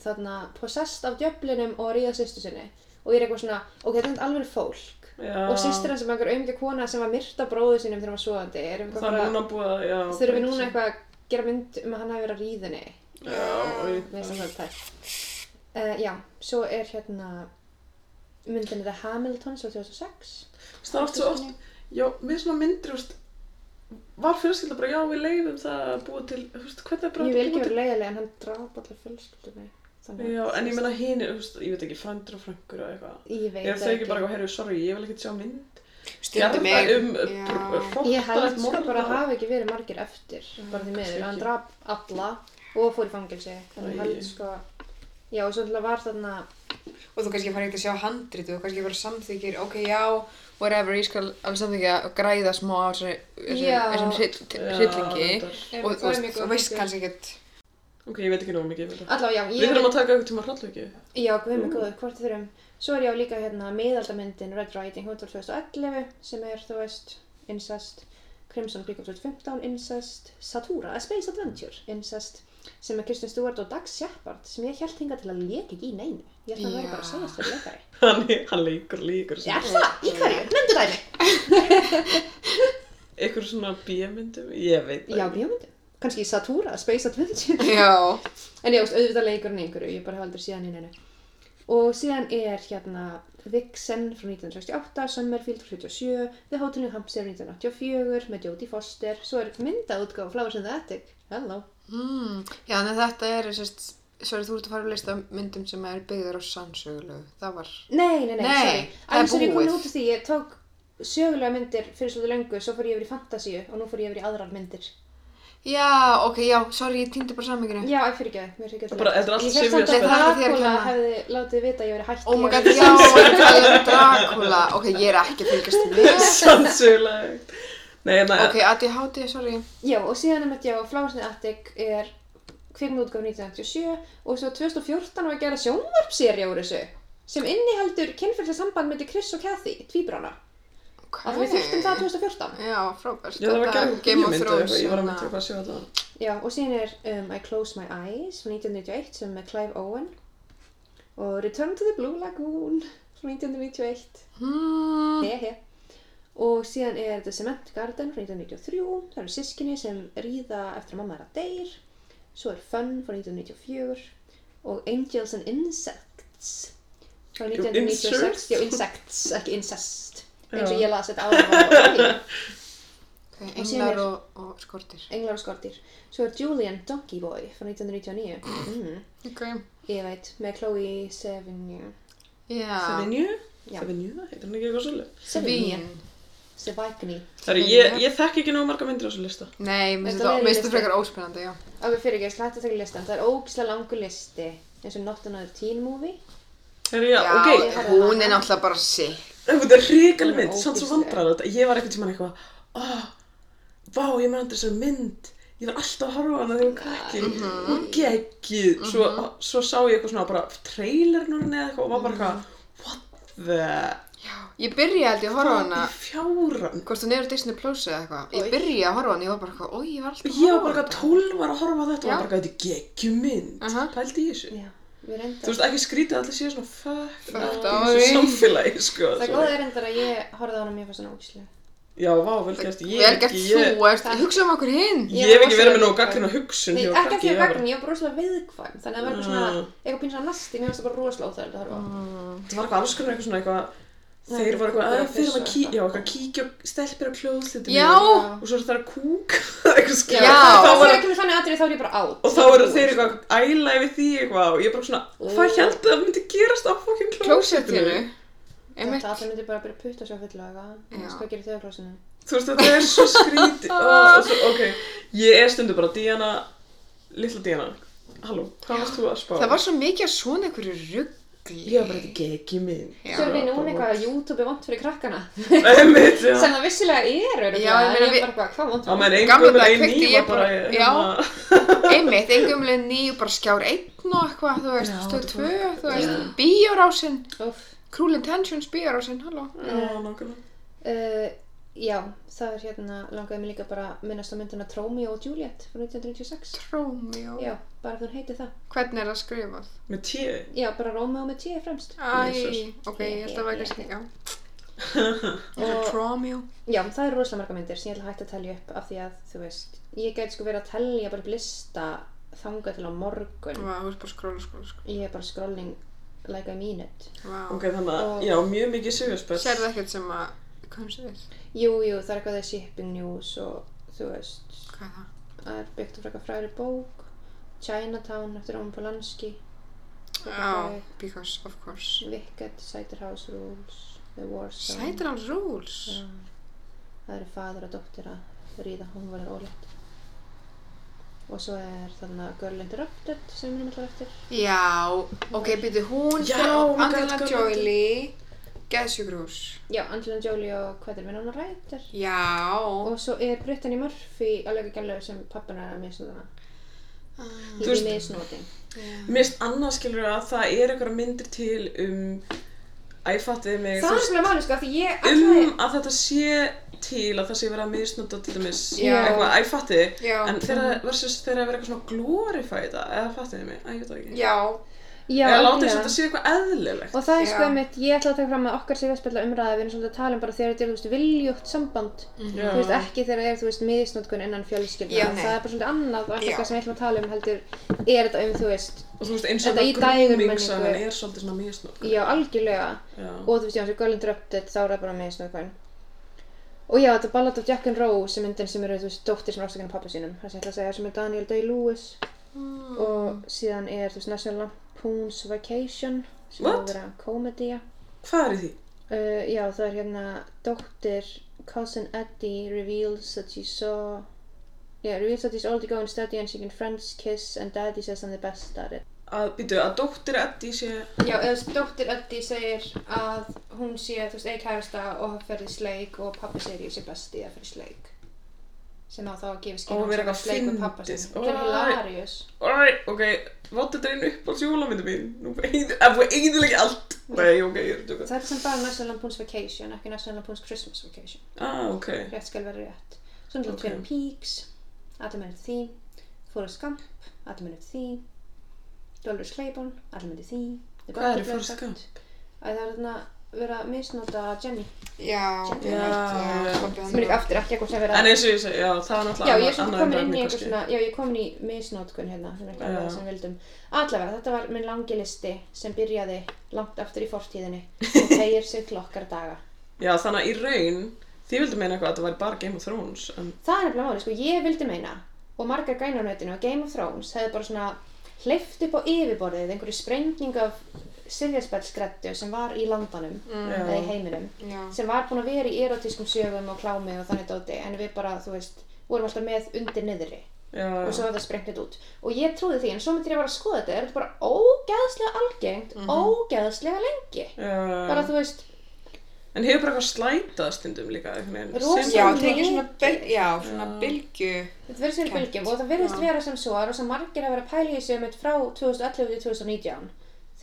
[SPEAKER 2] þarna possessed af djöflinum og ríða sýstu sinni og ég er eitthvað svona, ok, þetta er alvöru fólk
[SPEAKER 3] Já.
[SPEAKER 2] og sýstir hans sem einhver auðvitað kona sem var myrta bróðu sínum þegar hann var svoðandi erum
[SPEAKER 3] Það er núna búið að, já.
[SPEAKER 2] þurfum við núna eitthvað að gera mynd um að hann hafi verið að ríðinni
[SPEAKER 3] Já, og
[SPEAKER 2] Mér finnst
[SPEAKER 3] ég...
[SPEAKER 2] það svolítið tætt. Uh, já, svo er hérna myndin þetta Hamilton svo 2006.
[SPEAKER 3] Það er oft svo oft, já, mér er svona myndir, þú veist, var fjölskylda bara, já, við leifum það að búa til, þú veist, hvernig er bara
[SPEAKER 2] Ég
[SPEAKER 3] hægt
[SPEAKER 2] vil
[SPEAKER 3] að
[SPEAKER 2] ekki
[SPEAKER 3] búa til?
[SPEAKER 2] vera leiðilega en hann draf allar fjölskyldunni. Þannig
[SPEAKER 3] Já, en ég meina hinn þú veist, ég veit ekki, frændur og frængur og eitthvað.
[SPEAKER 2] Ég veit
[SPEAKER 3] Ef þau ekki bara, eitthvað, heyrðu, sorry, ég vil ekki sjá mynd.
[SPEAKER 1] Stundum
[SPEAKER 3] Gerða
[SPEAKER 1] er.
[SPEAKER 3] um
[SPEAKER 1] Já.
[SPEAKER 3] hróttalegt
[SPEAKER 2] Ég held sko bara
[SPEAKER 3] morð
[SPEAKER 2] að hafa ekki verið margir eftir, bara því miður.
[SPEAKER 3] kannski
[SPEAKER 2] Hann
[SPEAKER 3] ekki.
[SPEAKER 2] draf alla og fór í fangelsi. Þannig ég
[SPEAKER 3] Æi.
[SPEAKER 2] held sko... Já, og svo náttúrulega var þarna...
[SPEAKER 1] Og þú kannski farið ekki að sjá handrit og kannski bara samþykir, ok, já, whatever, ég skal alveg samþykja og græða smá á þessu- þessu-
[SPEAKER 2] Já.
[SPEAKER 1] þessum
[SPEAKER 3] Já,
[SPEAKER 1] hryllingi.
[SPEAKER 3] reyndar.
[SPEAKER 1] Og þú veist- þú veist kannski
[SPEAKER 2] *laughs*
[SPEAKER 1] ekkert.
[SPEAKER 3] Ok, ég veit ekki nóg mikið fyrir það.
[SPEAKER 2] Allá, já,
[SPEAKER 3] Við
[SPEAKER 2] ég...
[SPEAKER 3] þurfum að taka eitthvað tíma hrollvöki.
[SPEAKER 2] Já, guð með góður, hvort við þurfum. Svo er ég á líka hérna miðaldamyndin Red Riding Hood frá 2011 sem er, þú veist, incest, Crimson Peak frá 2015, incest, Satura, A Space Adventure, incest, sem er Kristen Stewart og Dax Shepard sem ég held hinga til að leka ekki í neinu. Ég held að hann væri bara að segja þess að leikari.
[SPEAKER 3] Hann, hann leikur, leikur.
[SPEAKER 2] Er það? Í hverju? Nefndu dæmi!
[SPEAKER 3] Eitthvað svona bíamyndum, ég veit það
[SPEAKER 2] Já,
[SPEAKER 3] ekki.
[SPEAKER 2] bíómyndin. Kannski í Satura, A Space Adventure.
[SPEAKER 1] Já.
[SPEAKER 2] En ég veist, auðvitað leikur hann í einhverju, ég bara hef aldrei séð hann í neinu. Og síðan er hérna Vixen frá 1968, Summerfield frá 77, The Hotel New Hampshire 1984 með Jodie Foster, svo er myndaútgáð Flowers in the Attic, hello.
[SPEAKER 1] Mm, já, en þetta er, sérst, sorry, þú ert að fara að lista myndum sem er byggður á sannsögulegu. Það var,
[SPEAKER 2] Nei, nei, nei,
[SPEAKER 1] Nei,
[SPEAKER 2] sorry.
[SPEAKER 1] það er
[SPEAKER 2] I'm sorry, ég kom
[SPEAKER 1] búið.
[SPEAKER 2] út af því, ég tók sögulega myndir fyrir svolítið löngu, svo fór ég yfir í fantasíu og nú fór ég yfir í aðrar myndir.
[SPEAKER 1] já, ok, já, sorry, ég týndi bara samminginu.
[SPEAKER 2] Já, ég fyrir ekki það, mér fyrir ekki
[SPEAKER 3] Það bara- þetta er allt
[SPEAKER 2] Ég hef
[SPEAKER 1] sifjaspell.
[SPEAKER 2] samt
[SPEAKER 1] Það er
[SPEAKER 2] að
[SPEAKER 1] ekki þér að
[SPEAKER 2] Dracula
[SPEAKER 1] kenna.
[SPEAKER 2] hefði látið vita að ég verið hætti.
[SPEAKER 1] Oh my god, já, en
[SPEAKER 2] *laughs*
[SPEAKER 1] það er Dracula. Ok, ég er ekki að fylgjast
[SPEAKER 2] *laughs*
[SPEAKER 1] með.
[SPEAKER 3] *laughs* Sannsögulegt. Nei, hérna,
[SPEAKER 1] Ok, ADHD, sorry.
[SPEAKER 2] Já, og síðan er með, já, Flowers in the Attic er kvikmyndútgáð 1997 og svo 2014 var að gera sjónvarpseri úr þessu sem inniheldur kynfyrslega samband með Chris og Kathy, tvíbrana.
[SPEAKER 1] Ok.
[SPEAKER 2] Að við þurftum það 2014.
[SPEAKER 1] Já, frábært.
[SPEAKER 3] ég þarf að
[SPEAKER 1] Þetta
[SPEAKER 3] gera
[SPEAKER 1] Game
[SPEAKER 3] ég
[SPEAKER 1] of
[SPEAKER 3] myndi
[SPEAKER 1] Thrones. hérna.
[SPEAKER 3] eitthvað, ég var að
[SPEAKER 1] svona-
[SPEAKER 3] myndi eitthvað að sjá allavega.
[SPEAKER 2] Já, og síðan er um, I Close My Eyes frá 1991 sem er með Clive Owen og Return to the Blue Lagoon frá 1991.
[SPEAKER 1] Hmm,
[SPEAKER 2] He he. Og síðan er The Cement Garden frá 1993. Það eru sískinni sem ríða eftir að mamma er að deyr. Svo er Fun frá 1994. Og Angels and Insects frá 1996.
[SPEAKER 3] Insects?
[SPEAKER 2] Já, Insects, ekki Incest. Eins og
[SPEAKER 3] Já.
[SPEAKER 2] ég las þetta ára á
[SPEAKER 1] ok,
[SPEAKER 2] Og síðan
[SPEAKER 1] englar
[SPEAKER 2] er-
[SPEAKER 1] og, og skortir.
[SPEAKER 2] Englar og skortir. Svo er Julian Donkey Boy frá 1999. Mm,
[SPEAKER 1] Ok.
[SPEAKER 2] ég veit, með Chloe Sevigny.
[SPEAKER 1] Já.
[SPEAKER 3] Savinju?
[SPEAKER 2] Já.
[SPEAKER 3] Savinju, heitir hann ekki eitthvað svolítið?
[SPEAKER 1] Svín.
[SPEAKER 2] Sevigny.
[SPEAKER 3] Það eru, ég, ég þekk ekki nógu marga myndir á þessu lista.
[SPEAKER 1] Nei, mér
[SPEAKER 2] Þetta er
[SPEAKER 1] finnst
[SPEAKER 2] listi.
[SPEAKER 1] þetta frekar óspennandi, já.
[SPEAKER 2] Ok, fyrir ekki, ég slætti að taka listan. Það er ógislega langur listi. eins og Not Another Teen Movie.
[SPEAKER 3] Það eru, já,
[SPEAKER 1] Já,
[SPEAKER 3] ok,
[SPEAKER 2] horfði á
[SPEAKER 1] hún
[SPEAKER 2] hana.
[SPEAKER 1] er náttúrulega bara sick.
[SPEAKER 3] þetta er hrikaleg mynd,
[SPEAKER 2] Hún er
[SPEAKER 3] samt svo
[SPEAKER 2] ógeðsleg.
[SPEAKER 3] vandrar þetta. Ég var eitthvað tímann eitthvað, oh, vá, ég man andur þessar mynd. Ég var alltaf að horfa á hana þegar ég var krakki.
[SPEAKER 2] Mhm.
[SPEAKER 3] Hún geggið. Svo, svo sá ég eitthvað svona bara trailerinn eða eitthvað og var bara eitthvað, what the...
[SPEAKER 1] Ég byrjaði held ég að horfa á hana,
[SPEAKER 3] Í fjáran.
[SPEAKER 1] hvort hún er á Disney Plus eða eitthvað.
[SPEAKER 2] Oj.
[SPEAKER 1] Ég byrjaði að horfa á hana, ég var bara eitthvað, oi, ég var alltaf að
[SPEAKER 3] Ég var bara
[SPEAKER 1] horfa á
[SPEAKER 3] eitthvað 12 var að horfa á þetta og
[SPEAKER 1] Já.
[SPEAKER 3] var bara eitthvað, þetta er geggjum mynd.
[SPEAKER 1] Aha.
[SPEAKER 3] Pældi í þessu.
[SPEAKER 2] Mhm. Já, við
[SPEAKER 3] Þú
[SPEAKER 2] reyndar.
[SPEAKER 3] veist, ekki skrítið að allir séu svona fuck
[SPEAKER 1] Fucked
[SPEAKER 3] up í
[SPEAKER 1] up.
[SPEAKER 3] þessu samfélagi, sko.
[SPEAKER 2] Það
[SPEAKER 3] Svo-
[SPEAKER 2] góða er reyndar að ég horfði á hana mér fannst svona ógislega.
[SPEAKER 3] Já, vá, vel gert. Ég
[SPEAKER 1] Vel
[SPEAKER 3] hef
[SPEAKER 1] gert
[SPEAKER 3] ekki, ég,
[SPEAKER 1] þú, ert, hugsa um okkur hinn.
[SPEAKER 2] Ég
[SPEAKER 3] ég hef
[SPEAKER 2] var
[SPEAKER 3] ekki verið með
[SPEAKER 2] rosalega
[SPEAKER 3] nógu gaggrinn á hugsun.
[SPEAKER 2] Nei,
[SPEAKER 3] þegar ég var
[SPEAKER 2] ekki
[SPEAKER 3] krakki,
[SPEAKER 2] ekki
[SPEAKER 3] ég
[SPEAKER 2] að
[SPEAKER 3] var bara- Mm.
[SPEAKER 2] gagna, ég var bara rosalega viðkvæm. Þannig að það var eitthvað svona, eitthvað pínu svona nasti, mér fannst það bara rosalega óþægilegt að horfa á.
[SPEAKER 3] Það var eitthvað alls konar eitthvað svona eitthvað,
[SPEAKER 2] Nei,
[SPEAKER 3] þeir voru eitthvað,
[SPEAKER 2] kúkur
[SPEAKER 3] að
[SPEAKER 2] og
[SPEAKER 3] fyrir að
[SPEAKER 2] pissa
[SPEAKER 3] kíkja,
[SPEAKER 2] eitthvað.
[SPEAKER 3] já, eitthvað kíkja og stelpir á klóðslitum.
[SPEAKER 1] Já.
[SPEAKER 3] Og svo er það að kúka, *laughs* eitthvað skil.
[SPEAKER 1] Já.
[SPEAKER 2] það
[SPEAKER 3] Þá
[SPEAKER 2] var
[SPEAKER 3] var
[SPEAKER 2] ekki með þannig atrið, þá er ég bara átt.
[SPEAKER 3] Og þá eru þeir eitthvað að æla yfir því eitthvað og ég er bara svona, hvað heldur það myndi gerast á fokkin
[SPEAKER 1] Klósettinu.
[SPEAKER 3] klósettinu?
[SPEAKER 1] Einmitt.
[SPEAKER 2] Þetta allir myndir bara að byrja að putta sér fulla og eitthvað. Þú veist
[SPEAKER 1] Já.
[SPEAKER 2] hvað gerir þau á klósinu?
[SPEAKER 3] Þú veist, þetta er svo
[SPEAKER 1] *laughs*
[SPEAKER 3] skríti oh, svo, Ok, ég er stundu bara Diana, litla Diana Halló, hvað varst þú að spá?
[SPEAKER 1] Það var svo mikið af svona einhverju ruggli.
[SPEAKER 3] Ég var bara þetta geggi minn
[SPEAKER 1] Já.
[SPEAKER 2] Svo er við núna eitthvað að YouTube er vant fyrir krakkana.
[SPEAKER 3] *laughs* Einmitt, já
[SPEAKER 2] Sem það vissilega er, örugglega,
[SPEAKER 1] Já, ég
[SPEAKER 2] en
[SPEAKER 1] meina
[SPEAKER 2] ég
[SPEAKER 1] við-
[SPEAKER 2] er bara eitthvað, hvað vant
[SPEAKER 3] Á
[SPEAKER 2] fyrir?
[SPEAKER 3] meðan ein
[SPEAKER 1] Gamla
[SPEAKER 3] gömul,
[SPEAKER 1] daga
[SPEAKER 3] ein ný
[SPEAKER 1] kveikti ég
[SPEAKER 3] var bara
[SPEAKER 1] bara-
[SPEAKER 3] hérna,
[SPEAKER 1] Einmitt, engumlega nýju, bara skjár einn og eitthvað, þú veist,
[SPEAKER 3] Já,
[SPEAKER 1] stöð
[SPEAKER 3] þetta
[SPEAKER 1] tvö, þú veist, bíórásinn,
[SPEAKER 2] Úff.
[SPEAKER 1] Cruel Intentions bíórásinn, halló.
[SPEAKER 3] Já, nákvæmlega
[SPEAKER 2] Uh, Já, það er hérna, langaði mig líka bara að minnast á myndina Trómio og Juliet frá 1996.
[SPEAKER 1] Trómjó.
[SPEAKER 2] Já, bara að hún heiti það.
[SPEAKER 1] Hvernig er það skrifað?
[SPEAKER 3] Með tíu
[SPEAKER 2] Já, bara Rómeo með tíu fremst.
[SPEAKER 1] Æ,
[SPEAKER 3] Jesus.
[SPEAKER 1] ok, ég held að væri kannski, já.
[SPEAKER 2] Og-
[SPEAKER 1] Trómjó.
[SPEAKER 2] Já, það eru rosalega marga myndir sem ég ætla að hætta að telja upp af því að, þú veist, ég gæti sko verið að telja bara upp lista þangað til á morgun.
[SPEAKER 1] Vá, þú veist bara skróla, skróla, skróla.
[SPEAKER 2] Ég er bara scrolling like a minute.
[SPEAKER 1] Vá.
[SPEAKER 3] Ok, þannig
[SPEAKER 2] Og-
[SPEAKER 3] að, já, mjög mikið sifjarspöld
[SPEAKER 1] Serðu ekkert sem að, komst við?
[SPEAKER 2] Jú, jú, það er eitthvað þegar shipping news og þú veist,
[SPEAKER 1] Hvað er það?
[SPEAKER 2] það er byggt af frækka fræri bók, Chinatown eftir Óman Polanski,
[SPEAKER 1] Já, because, of course.
[SPEAKER 2] Wicked, Cider House Rules, The War Zone.
[SPEAKER 1] Sætir hans rules.
[SPEAKER 2] Já. Það eru fadur og dóttir að ríða, hún var ólétt. Og svo er þarna Girl Interrupted sem við erum alltaf eftir.
[SPEAKER 1] Já, ok, byrju, hún
[SPEAKER 3] Já,
[SPEAKER 1] frá
[SPEAKER 3] oh my God,
[SPEAKER 1] Angelina
[SPEAKER 3] God, God.
[SPEAKER 1] Jolie, Geðsjúkrús.
[SPEAKER 2] Já, Angelina Jolie og hvað er minn hún rættir?
[SPEAKER 1] Já,
[SPEAKER 2] Og svo er Brittany Murphy alveg ekki gæmlega sem pappin er að misnóta hana.
[SPEAKER 1] Ah,
[SPEAKER 2] Í
[SPEAKER 3] Þú veist-
[SPEAKER 2] misnóting.
[SPEAKER 3] Mér finnst annað skilur að það er eitthvað myndir til um Æ, fattuði mig
[SPEAKER 2] Það
[SPEAKER 3] þú
[SPEAKER 2] er
[SPEAKER 3] veist,
[SPEAKER 2] svona máli sko, af því ég ætlaði...
[SPEAKER 3] um að þetta sé til að það sé verið að misnota til dæmis
[SPEAKER 1] Já.
[SPEAKER 3] eitthvað, æ, fatti
[SPEAKER 1] Já.
[SPEAKER 3] en þeirra versus þeirra að vera eitthvað svona glorifæta eða fattiði mig, æ, ég veit það ekki
[SPEAKER 1] já,
[SPEAKER 2] Já,
[SPEAKER 3] eða láta þess að
[SPEAKER 2] algjörlega.
[SPEAKER 3] þetta sé eitthvað eðlilegt
[SPEAKER 2] Og það er
[SPEAKER 1] Já.
[SPEAKER 2] sko einmitt, ég ætla að taka fram að okkar sifjarspjalla umræða, við erum svolítið að tala um bara þegar þetta er, þú veist, viljótt samband.
[SPEAKER 3] Já.
[SPEAKER 2] Þú veist, ekki þegar það er, þú veist, miðsnotkun innan fjölskyldna.
[SPEAKER 1] Já, nei.
[SPEAKER 2] það er bara svolítið annað og ekki
[SPEAKER 1] Já.
[SPEAKER 2] eitthvað sem við ætlum að tala um heldur, er þetta um, þú veist,
[SPEAKER 3] og þú veist eins og
[SPEAKER 2] Þetta í
[SPEAKER 3] þetta grooming
[SPEAKER 2] dægurmenningu.
[SPEAKER 3] sagan er svolítið svona misnótt
[SPEAKER 2] já, algjörlega.
[SPEAKER 3] já,
[SPEAKER 2] Og þú veist, já, eins og Girl Interrupted, þá er það bara miðsnotkun. Og já, þetta er Ballad of Jack and Rose, sem myndin sem eru, þú veist, dóttir sem er ástakinn af pappa sínum. Það sem ég ætla að segja, sem er Daniel Day-Lewis. Ah. Og síðan er, þú veist, National Lampoon's Vacation, sem er
[SPEAKER 3] What?
[SPEAKER 2] að vera komedía.
[SPEAKER 3] hvað er í því?
[SPEAKER 2] Uh, já, það er hérna Dóttir Cousin Eddie reveals that she saw Yeah, reveals that she's already going steady and she can friends kiss and daddy says I'm the best at it
[SPEAKER 3] að, býtu, að dóttir Eddi sé
[SPEAKER 2] Já, eða þessi Dóttir Eddie segir að hún sé, þú veist, eigi kærasta og hann ferði sleik og pappi segir ég sé best í að ferði sleik sem á þá að gefa
[SPEAKER 3] Ó,
[SPEAKER 2] skinn
[SPEAKER 3] vera eitthvað
[SPEAKER 2] um pappa
[SPEAKER 3] fyndið.
[SPEAKER 2] sinn Það er
[SPEAKER 3] Ó.
[SPEAKER 2] hilarious
[SPEAKER 3] Alright, ok, váttu þetta einu upp á sjólamyndu mín nú eigðil ekki allt nei, ok, ég er að tjóka
[SPEAKER 2] Það er sem bara National Lampoon's Vacation, ekki National Lampoon's Christmas Vacation
[SPEAKER 3] ah, ok,
[SPEAKER 2] rétt skal vera rétt svona
[SPEAKER 3] Ok.
[SPEAKER 2] okay. Twin Peaks allir mennir því Forrest Gump allir mennir því Dolores Claiborne allir mennir því The
[SPEAKER 3] Hvað er í
[SPEAKER 2] Butler
[SPEAKER 3] Forrest
[SPEAKER 2] Effect. að það er þarna verið að misnota Jenny
[SPEAKER 1] Já,
[SPEAKER 2] Sem
[SPEAKER 3] er allt, já.
[SPEAKER 2] sem er ekki aftur ekki eitthvað sem verið
[SPEAKER 3] en
[SPEAKER 2] að
[SPEAKER 3] eins og ég segi, já, það er
[SPEAKER 2] já, ég
[SPEAKER 3] náttúrulega
[SPEAKER 2] er
[SPEAKER 3] annað-
[SPEAKER 2] svona
[SPEAKER 3] annað
[SPEAKER 2] komin inn í
[SPEAKER 3] umræðni,
[SPEAKER 2] eitthvað
[SPEAKER 3] kannski.
[SPEAKER 2] svona já, ég er komin í misnótkun hérna sem er eitthvað
[SPEAKER 3] Já.
[SPEAKER 2] annað sem við vildum allavega, þetta var minn langi listi sem byrjaði langt aftur í fortíðinni
[SPEAKER 3] *laughs*
[SPEAKER 2] og tegir sig til okkar daga
[SPEAKER 3] Já, þannig að í raun, þið vildu meina eitthvað að þetta væri bara Game of Thrones, en
[SPEAKER 2] það er nefnilega máli, sko, ég vildi meina og margar grænar á netinu og Game of Thrones hefði bara svona hleyft upp á yfirborðið einhverju sprengning af siljaspellskrettu sem var í landanum
[SPEAKER 3] Mm. Já.
[SPEAKER 2] eða í heiminum
[SPEAKER 1] Já.
[SPEAKER 2] sem var búin að vera í erotískum sögum og klámi og þannig dóti en við bara, þú veist, vorum alltaf með undir niðri
[SPEAKER 3] já,
[SPEAKER 2] og svo var það sprengt þetta út og ég trúði því en svo myndi ég bara að skoða þetta er þetta bara ógeðslega algengt ógeðslega lengi
[SPEAKER 3] já,
[SPEAKER 2] bara þú veist,
[SPEAKER 3] en hefur bara eitthvað slætað stundum líka, einhvern
[SPEAKER 2] Rosa-
[SPEAKER 3] veginn,
[SPEAKER 1] Já,
[SPEAKER 2] Sem-
[SPEAKER 1] tekið svona, byl, já, svona
[SPEAKER 2] Ah.
[SPEAKER 3] Já.
[SPEAKER 1] bylgju
[SPEAKER 2] Þetta verður sér
[SPEAKER 1] Kennt.
[SPEAKER 2] bylgjum og það verðist vera sem svo að rosa margir að vera að pæla í þessu með frá 2011 til 2019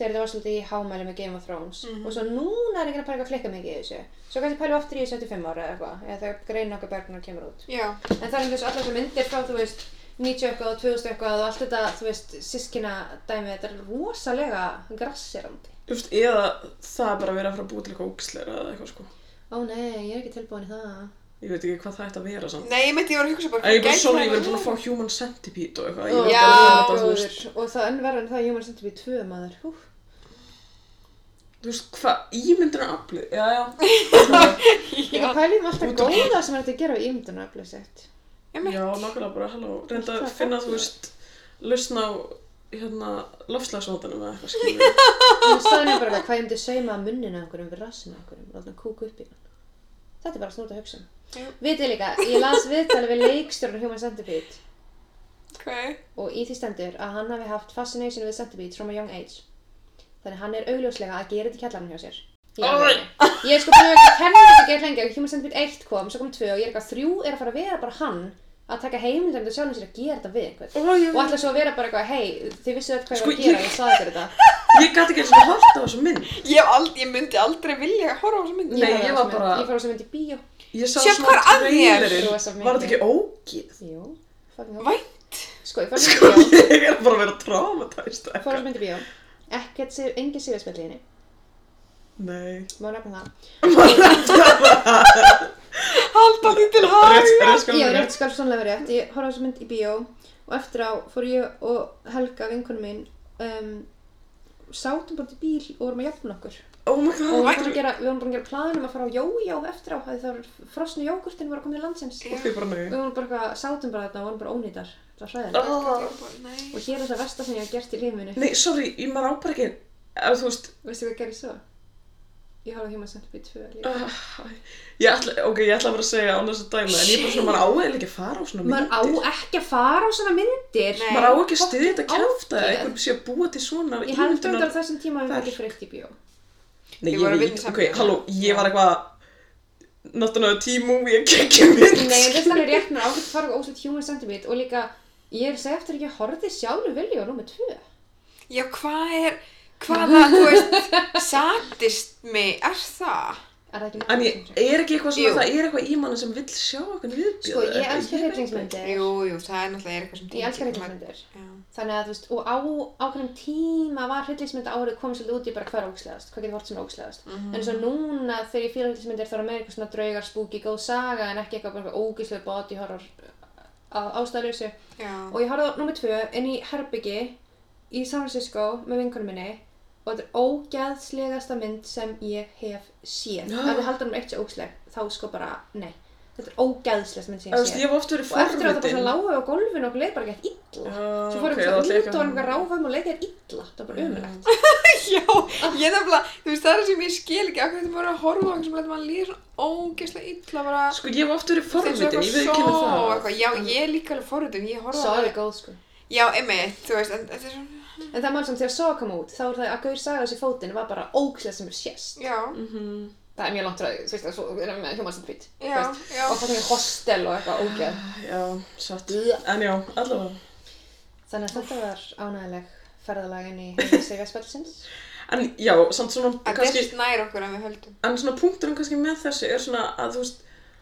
[SPEAKER 2] þegar þetta var svolítið í hámæli með Game of Thrones og svo núna er einhvern að pæla eitthvað að flikka mikið í þessu svo kannski pæla við aftur í þessu eftir 5 ára eða eitthvað eða þegar grein okkar bergnar kemur út
[SPEAKER 1] Já,
[SPEAKER 2] en það er einhvers allar þessar myndir frá þú veist 90 eitthvað og 2000 eitthvað og allt þetta þú veist sískina dæmi þetta er rosalega grassirandi
[SPEAKER 3] Þú veist, eða það er bara að vera að fara að búa til eitthvað ógisleira eða eitthvað, sko,
[SPEAKER 2] ó nei, ég er ekki tilbúin í það
[SPEAKER 3] ég veit ekki hvað það ætti að vera samt.
[SPEAKER 1] nei, ég meinti ég var að hugsa bara
[SPEAKER 3] En ég
[SPEAKER 1] hvað
[SPEAKER 3] bara,
[SPEAKER 1] gæti
[SPEAKER 3] sorry,
[SPEAKER 1] það
[SPEAKER 3] ég verið
[SPEAKER 1] verið?
[SPEAKER 3] búin að fá Human Centipede og eitthvað,
[SPEAKER 1] Ó,
[SPEAKER 3] ég veit
[SPEAKER 1] já,
[SPEAKER 3] að vera þetta, þú veist,
[SPEAKER 2] bróður og það ennverðan það Human Centipede 2 maður hú
[SPEAKER 3] þú veist, hvað, ímyndunar aflið, já, já,
[SPEAKER 2] Líka pælið með alltaf
[SPEAKER 3] Út og-
[SPEAKER 2] góða sem er hægt að gera á ímyndunaröflið sitt.
[SPEAKER 1] Einmitt.
[SPEAKER 3] já, nákvæmlega bara, halló, reynda
[SPEAKER 2] Allt
[SPEAKER 3] að
[SPEAKER 2] það
[SPEAKER 3] finna,
[SPEAKER 2] fallegt.
[SPEAKER 3] þú veist, lausna á, hérna, lofslagsvandanum eða eitthvað, skilur,
[SPEAKER 2] En staðin er bara eitthvað, hvað ég myndi sauma að munnina einhverjum við rassinu einhverjum og láta hann kúka upp í hann. Þetta er bara snúta að hugsa um.
[SPEAKER 1] Já.
[SPEAKER 2] Vitið þið líka, ég las viðtalið við leikstjórn Human Centipede
[SPEAKER 1] Ok.
[SPEAKER 2] og í því stendur að hann hafi haft fascination við Centipede from a young age. Þannig hann er augljóslega að gera þetta í kjallarinn hjá sér. Í alvörunni. Ég er sko búin að vera að kenna þetta gett lengi og Human Centipede 1 kom, svo kom 2 og ég er eitthvað 3 er að fara að vera bara hann að taka heimildæmdu sjálfum sér að gera þetta við einhvern.
[SPEAKER 3] Ó, ég-
[SPEAKER 2] og ætla svo að vera bara eitthvað, hei, þið vissu þetta hvað ég
[SPEAKER 3] Sko,
[SPEAKER 2] var að gera,
[SPEAKER 3] ég-
[SPEAKER 2] ég saði þér þetta.
[SPEAKER 3] ég gæti ekki eins og hort á þessu mynd.
[SPEAKER 1] Ég, hef ald, ég myndi aldrei vilja að horfa á þessa mynd
[SPEAKER 3] *laughs* Nei, ég var
[SPEAKER 2] á þessa mynd.
[SPEAKER 3] bara-
[SPEAKER 2] Ég fór á sem myndi í bíó.
[SPEAKER 3] Ég sá
[SPEAKER 1] Sjá, hvað
[SPEAKER 3] svona
[SPEAKER 1] er að þér?
[SPEAKER 3] trailerinn,
[SPEAKER 2] Rosa mikið.
[SPEAKER 3] var þetta ekki ógið?
[SPEAKER 2] Jú, fucking hótt.
[SPEAKER 1] Vænt
[SPEAKER 2] Sko,
[SPEAKER 3] *laughs*
[SPEAKER 2] ég fór á sem myndi í bíó.
[SPEAKER 3] Ég er bara að vera traumatæst
[SPEAKER 2] Fór á sem myndi í bíó. Ekkert, sig- engin sigurspjall í henni.
[SPEAKER 3] Nei
[SPEAKER 2] Má nefna það.
[SPEAKER 1] Halda því til
[SPEAKER 3] Rétt,
[SPEAKER 1] haga
[SPEAKER 3] rétt skal
[SPEAKER 2] Ég
[SPEAKER 3] vera
[SPEAKER 2] er
[SPEAKER 3] rétt
[SPEAKER 2] rétt skal sannlega verið rétt. Ég horfði á sem myndi í bíó og eftir á fór ég og Helga, vinkunum minn, um, sátum bara til bíl og vorum að jafna okkur.
[SPEAKER 3] Oh my
[SPEAKER 2] Og við
[SPEAKER 3] god
[SPEAKER 2] vorum búin að gera, við vorum búin að gera planum að fara á jójó eftir á, því það var frosnu jógurtin var að koma til landsins.
[SPEAKER 3] Og því bara
[SPEAKER 2] Við vorum bara eitthvað, sátum bara þarna og vorum bara ónýtar. Það var hræðilegt.
[SPEAKER 3] nei
[SPEAKER 1] Nei
[SPEAKER 2] Og hér er það versta sem ég hef gert í lífinu.
[SPEAKER 3] Nei, sorry, ég maður á bara ekki Ef þú veist
[SPEAKER 2] Veistu hvað gerði svo? Ég horfði á Human Centipede 2 líka.
[SPEAKER 3] uh, Ég ætla, ok, ég ætla bara að segja án þess að dæma En ég er bara svona, maður á eða ekki að fara á svona
[SPEAKER 2] Maður á
[SPEAKER 3] myndir
[SPEAKER 2] ekki að fara á svona myndir.
[SPEAKER 1] Nei.
[SPEAKER 3] Maður á ekki að styðja þetta
[SPEAKER 2] Fucking
[SPEAKER 3] kæfta
[SPEAKER 2] ágeð.
[SPEAKER 3] Einhver sé að búa til svona
[SPEAKER 2] Ég held um þetta á
[SPEAKER 3] ímyndunar-
[SPEAKER 2] þessum tíma að við
[SPEAKER 3] Verk.
[SPEAKER 2] fætti fríkt í bíó.
[SPEAKER 3] Nei,
[SPEAKER 1] Ég
[SPEAKER 3] ég
[SPEAKER 1] var að
[SPEAKER 3] veit,
[SPEAKER 1] vinna í
[SPEAKER 3] ok,
[SPEAKER 1] samfélaginu.
[SPEAKER 3] halló, ég var eitthvað Náttúrulega T-movie, ég kekki mynd
[SPEAKER 2] Nei, en þetta er rétt mér ágætt að fara á óslut Human Centipede og líka ég er að segja eftir ekki að horfði sjálfur vilja á nummer 2.
[SPEAKER 1] Já, hvað er, hvaða, þú veist, sadismi er það?
[SPEAKER 2] Er það ekki
[SPEAKER 3] En ég er ekki eitthvað svona,
[SPEAKER 1] Jú.
[SPEAKER 3] það er eitthvað í manni sem vill sjá eitthvað viðbjöð.
[SPEAKER 2] Sko, ég elska
[SPEAKER 3] veit
[SPEAKER 2] hryllingsmyndir.
[SPEAKER 1] Jú, jú, það er náttúrulega eitthvað sem
[SPEAKER 2] Ég elskar
[SPEAKER 1] tengist maður-
[SPEAKER 2] hryllingsmyndir. Þannig að þú veist, og á ákveðnum tíma var hryllingsmynda árið komið svolítið út í bara hver ógslegast, hvað getur hort sem er ógslegast. En svo núna þegar ég fíla hryllingsmyndir þá er það meira eitthvað svona draugar, spooky, góð saga en ekki eitthvað bara ógíslega body horror uh, á ástæðlösu.
[SPEAKER 1] Já, já.
[SPEAKER 2] Og ég horfði á nummer tvö inn í herbyggi í San Francisco með vinkunum minni og þetta er ógæðslegasta mynd sem ég hef
[SPEAKER 3] *gasps*
[SPEAKER 2] séð.
[SPEAKER 3] Já.
[SPEAKER 2] Ef við haldum um eitt sem ógsleg, þá sko bara, nei. Þetta er ógæðslegasta mynd sem ég
[SPEAKER 3] Þú
[SPEAKER 2] hef
[SPEAKER 3] veist,
[SPEAKER 2] séð
[SPEAKER 3] ég hef oft verið
[SPEAKER 2] og eftir að það bara
[SPEAKER 3] forvitin.
[SPEAKER 2] svona lágu á gólfinu og okkur leið bara gett illa
[SPEAKER 3] Já,
[SPEAKER 2] svo fórum
[SPEAKER 3] ok,
[SPEAKER 2] við
[SPEAKER 3] það
[SPEAKER 2] okay,
[SPEAKER 3] ætla ég
[SPEAKER 2] út og
[SPEAKER 3] ekki að-
[SPEAKER 2] varum eitthvað ráfum og leið gett illa það var
[SPEAKER 3] Mm.
[SPEAKER 2] bara umlegt
[SPEAKER 1] Já, ég nefnilega, þú veist það er það sem ég skil ekki, akkur þetta bara að horfa á eitthvað sem lætur mann líða svona ógeðslega illa bara
[SPEAKER 3] Sko, ég hef oft
[SPEAKER 1] Þetta er
[SPEAKER 3] verið
[SPEAKER 1] svo
[SPEAKER 3] forvitin, ég veit
[SPEAKER 1] eitthvað
[SPEAKER 3] ekki
[SPEAKER 1] svo og
[SPEAKER 3] það.
[SPEAKER 1] eitthvað. Já, ég er líka alveg forvitin, ég horfa
[SPEAKER 2] svo er það góð sko
[SPEAKER 1] Já, einmitt, þú veist, en þetta er svona,
[SPEAKER 2] en það er mann sem þegar svo kom út þá er það að gaur saga þessi fótinn var bara ókslega sem er sérst
[SPEAKER 1] já,
[SPEAKER 3] Mhm.
[SPEAKER 2] það er mjög langt frá því, þú veist það er svo er með hjómaðsand být
[SPEAKER 1] já, já
[SPEAKER 2] og það er hostel og eitthvað ógeð
[SPEAKER 3] Já, satt. En já, allavega.
[SPEAKER 2] þannig að þetta var ánægileg ferðalag inn í Sigurspelsins
[SPEAKER 3] En já, samt svona,
[SPEAKER 1] Þetta er
[SPEAKER 3] kannski,
[SPEAKER 1] svo nær okkur en við höldum
[SPEAKER 3] en svona punkturinn kannski með þessu er svona að, þú veist,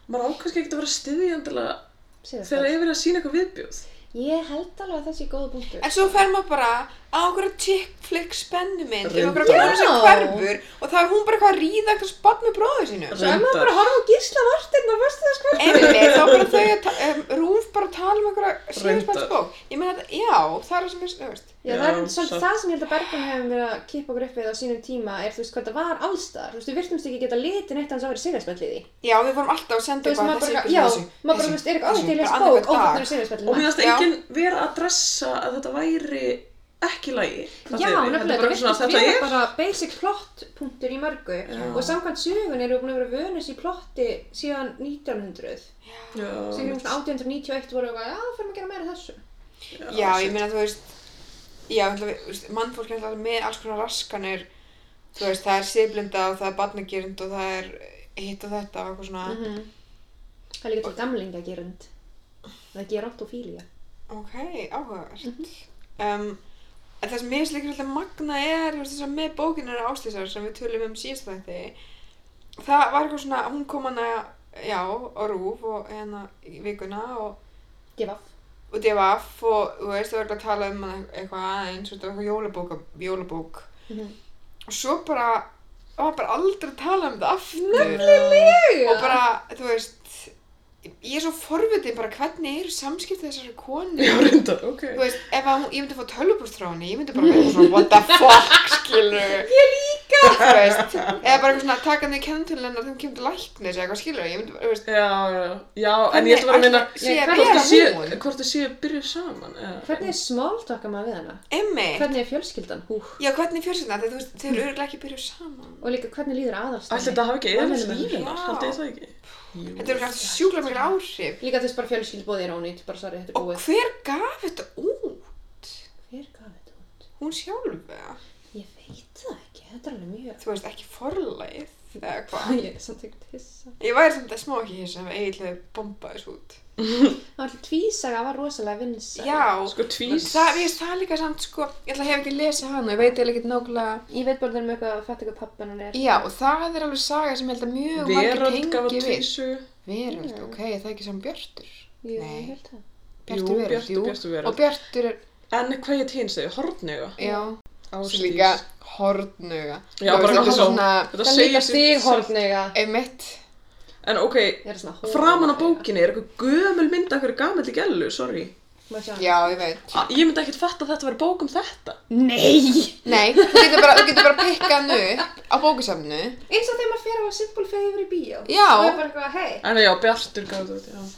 [SPEAKER 3] maður á kannski ekkert að vera styðjandilega þegar það
[SPEAKER 2] Sigurspels
[SPEAKER 3] er verið að sína eitthvað viðbjóð.
[SPEAKER 2] ég held alveg að þessi góða punktur
[SPEAKER 1] En svo fer maður bara á okkur chick flick spennumynd um okkur
[SPEAKER 3] Já.
[SPEAKER 1] konu sem hverfur og það er hún bara eitthvað að ríða eitthvað spatt með bróður sínu
[SPEAKER 2] svo er maður bara að horfa á gísla vartinn og vörstu þess hvernig
[SPEAKER 1] Einmitt, þá bara þau að ta- um, rúf bara að tala um einhverja
[SPEAKER 3] Reyndar.
[SPEAKER 1] síðanspannsbók Ég meina þetta, já, það er það sem ég, þú veist
[SPEAKER 2] Já,
[SPEAKER 3] Já,
[SPEAKER 2] það er svolítið
[SPEAKER 3] satt.
[SPEAKER 2] það sem ég held að Bergman hefum verið að kippa okkur upp við á sínum tíma er þú veist hvað það var allstar, þú veist, við virtumst ekki geta litið neitt hans að vera sigurspjallið í.
[SPEAKER 1] Já, við vorum alltaf að senda
[SPEAKER 2] Þú veist,
[SPEAKER 1] eitthvað
[SPEAKER 2] maður bara,
[SPEAKER 1] þessi,
[SPEAKER 2] já,
[SPEAKER 1] þessi,
[SPEAKER 2] maður bara,
[SPEAKER 1] þessi,
[SPEAKER 2] þú veist, er eitthvað, ó,
[SPEAKER 1] þessi,
[SPEAKER 2] þetta er
[SPEAKER 1] bara
[SPEAKER 2] lest
[SPEAKER 1] annað hvern
[SPEAKER 2] bók, ó,
[SPEAKER 1] dag.
[SPEAKER 2] þetta er sigurspjallið
[SPEAKER 3] Og mér
[SPEAKER 2] maður.
[SPEAKER 3] finnst
[SPEAKER 1] Já.
[SPEAKER 3] enginn vera að dressa að þetta væri ekki lægi.
[SPEAKER 2] Já, nefnilega,
[SPEAKER 3] þetta
[SPEAKER 2] þetta
[SPEAKER 3] er bara
[SPEAKER 2] virtist
[SPEAKER 3] svona, þetta
[SPEAKER 2] vera
[SPEAKER 3] er.
[SPEAKER 2] bara basic plot punktur í mörgu
[SPEAKER 3] Já.
[SPEAKER 2] og samkvæmt sögun eru búin að vera vönus í plotti síðan 1900 sem
[SPEAKER 3] Já,
[SPEAKER 2] við 1891 voru eitthvað, já, fyrir að gera meira af þessu.
[SPEAKER 1] Já, ég meina þú veist, já, ætla við- þú veist, mannfólk er alltaf með alls konar raskanir, þú veist, það er siðblinda og það er barnagirnd og það er hitt og þetta og eitthvað svona,
[SPEAKER 2] Mhm. Það er líka til gamlingagerund, það ger átt og fílíja.
[SPEAKER 1] ok, áhugavert.
[SPEAKER 2] Mhm.
[SPEAKER 1] um, en það sem mér slikir alltaf magna er, þú veist, þess að með bókinar ástísar sem við tölum um síðast þætti, það var eitthvað svona, hún kom hana, já, og rúf og hérna í vikuna og
[SPEAKER 2] Give up.
[SPEAKER 1] og divaf og þú veist, það var eitthvað að tala um hana eitthvað aðeins, þetta var eitthvað jólabók, jólabók.
[SPEAKER 2] Mhm.
[SPEAKER 1] og svo bara var bara aldrei að tala um það aftur og
[SPEAKER 2] Nefnilega!
[SPEAKER 1] bara, þú veist ég er svo forvitið bara hvernig eru samskipti þessari konu
[SPEAKER 3] Já, reyndar, ok.
[SPEAKER 1] þú veist, ef að hún, ég myndi fá tölvupúrstráni ég myndi bara vera eitthvað svona, what the fuck, skilu ég líka þú veist, eða bara eitthvað svona, taka hann í kenntölinn hennar þegar hún kemur til læknis eða eitthvað, skilu, ég myndi bara, þú veist
[SPEAKER 3] Já, já, já, en ég ætla bara að minna,
[SPEAKER 1] sé
[SPEAKER 2] Ég-
[SPEAKER 1] að
[SPEAKER 2] hvort
[SPEAKER 3] hvort
[SPEAKER 1] vera
[SPEAKER 3] þið séu,
[SPEAKER 1] hún,
[SPEAKER 3] hvort þið séu byrjuð saman, eða?
[SPEAKER 2] Hvernig er smáltokka maður við hana?
[SPEAKER 1] emmi
[SPEAKER 2] Hvernig er fjölskyldan? Hú.
[SPEAKER 1] já, hvernig fjölsynna, þegar þú veist, þau eru örgulega ekki byrjuð saman
[SPEAKER 2] Og líka hvernig líður aðalstæðin?
[SPEAKER 3] Ætli þetta hafi ekki eða
[SPEAKER 2] Almennilega.
[SPEAKER 3] lífinar,
[SPEAKER 1] Já.
[SPEAKER 3] haldi ég það ekki?
[SPEAKER 1] Þetta eru kannski sjúkla mikil áhrif.
[SPEAKER 2] Líka þess bara fjölskyldbóði er ónýtt, bara sorry, þetta er
[SPEAKER 1] Og
[SPEAKER 2] búið.
[SPEAKER 1] hver gaf þetta út?
[SPEAKER 2] Hver gaf þetta út?
[SPEAKER 1] Hún sjálf eða?
[SPEAKER 2] Ég veit það ekki, þetta er alveg mjög...
[SPEAKER 1] Þú veist, ekki forlæð eða
[SPEAKER 2] Æ,
[SPEAKER 1] hvað.
[SPEAKER 2] Ég er samt ekkert hissa.
[SPEAKER 1] Ég væri samt að smá ekki hér sem eiginlega bombaðis út.
[SPEAKER 2] Það var alltaf tvísaga, var rosalega vinsæl.
[SPEAKER 1] Já,
[SPEAKER 3] Sko, tvís.
[SPEAKER 1] það, ég veist, það er líka samt, sko, ég ætla að hef ekki lesið hann og ég veit eða ekki nákvæmlega.
[SPEAKER 2] Ég veit bara um eitthvað að fatta hvað pappan hann er.
[SPEAKER 1] Já, og það er alveg saga sem ég held að mjög margir
[SPEAKER 3] Veröld gaf
[SPEAKER 1] tengi
[SPEAKER 3] að
[SPEAKER 1] við.
[SPEAKER 3] tvísu.
[SPEAKER 1] Veröld, ok, er það ekki saman Björtur.
[SPEAKER 2] Jú,
[SPEAKER 1] Nei.
[SPEAKER 2] ég held það.
[SPEAKER 1] Bjartur
[SPEAKER 3] Jú,
[SPEAKER 1] Veröld,
[SPEAKER 3] Bjartur-
[SPEAKER 1] jú.
[SPEAKER 3] Bjartur Veröld.
[SPEAKER 1] Og Bjartur er,
[SPEAKER 3] En hvað ég týnst þau? Hortnega?
[SPEAKER 1] já,
[SPEAKER 3] Ásdís.
[SPEAKER 1] svo líka hornuga.
[SPEAKER 3] Já, bara
[SPEAKER 1] þetta
[SPEAKER 3] eitthvað
[SPEAKER 1] er svona,
[SPEAKER 3] svona- Þetta
[SPEAKER 2] Það er
[SPEAKER 3] segir
[SPEAKER 2] líka
[SPEAKER 3] sig-
[SPEAKER 2] þig hornega.
[SPEAKER 1] einmitt,
[SPEAKER 3] En ok,
[SPEAKER 2] Ég er svona hornega.
[SPEAKER 3] framan á bókinni er eitthvað gömul mynd af hverju gamalli gælu, sorry.
[SPEAKER 2] Já.
[SPEAKER 1] já, ég veit.
[SPEAKER 3] A- Ég myndi ekkert fatta að þetta væri bók um þetta.
[SPEAKER 2] Nei!
[SPEAKER 1] Nei, þú getur bara, þú getur bara pikkað hann upp á bókusafnu.
[SPEAKER 2] Eins og þegar maður fer á Simple Favor í bíó.
[SPEAKER 1] Já.
[SPEAKER 2] Það er bara eitthvað, hei.
[SPEAKER 3] En já, Bjartur gaf þetta, út, já.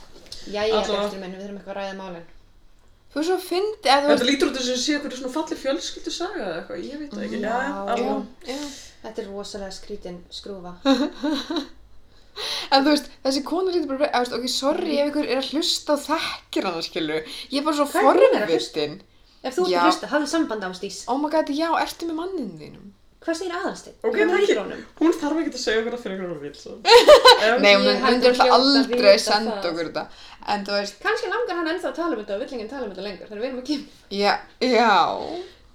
[SPEAKER 2] Jæja,
[SPEAKER 3] Allavega.
[SPEAKER 2] eftir minn, við þurfum eitthvað að ræða málinn.
[SPEAKER 1] Þú er svo fyndið að þú
[SPEAKER 3] Þetta lítur út þess að sé eitthvað svona falli fjölskyldu saga eða eitthvað, ég veit það ekki. Já,
[SPEAKER 1] Já,
[SPEAKER 3] alveg.
[SPEAKER 1] já.
[SPEAKER 2] Þetta er rosalega skrítin skrúfa.
[SPEAKER 1] En þú veist, þessi kona lítur bara, að, veist, ok, sorry ef ykkur er að hlusta og þekkir hana, skilur. Ég er bara svo
[SPEAKER 2] Hvað er hún að
[SPEAKER 1] forvitin.
[SPEAKER 2] Ef þú ert
[SPEAKER 1] Já.
[SPEAKER 2] að hlusta, hafðu samband ástís.
[SPEAKER 1] Oh my god, já, ertu með manninu þínum?
[SPEAKER 2] Hvað segir aðalsteinn?
[SPEAKER 3] Ok,
[SPEAKER 2] Hvað
[SPEAKER 3] takk.
[SPEAKER 2] líður honum?
[SPEAKER 3] Hún þarf ekki að segja okkur að fyrir okkur að vil, svo. *laughs*
[SPEAKER 1] Nei, hún myndi
[SPEAKER 2] Ég held að
[SPEAKER 1] alltaf
[SPEAKER 2] hljóta að
[SPEAKER 1] aldrei
[SPEAKER 2] vita
[SPEAKER 1] senda
[SPEAKER 2] það.
[SPEAKER 1] okkur þetta. En þú veist,
[SPEAKER 2] Kanski langar hann ennþá að tala um þetta og vill enginn tala um þetta lengur, þannig við erum að kemja.
[SPEAKER 1] já, já.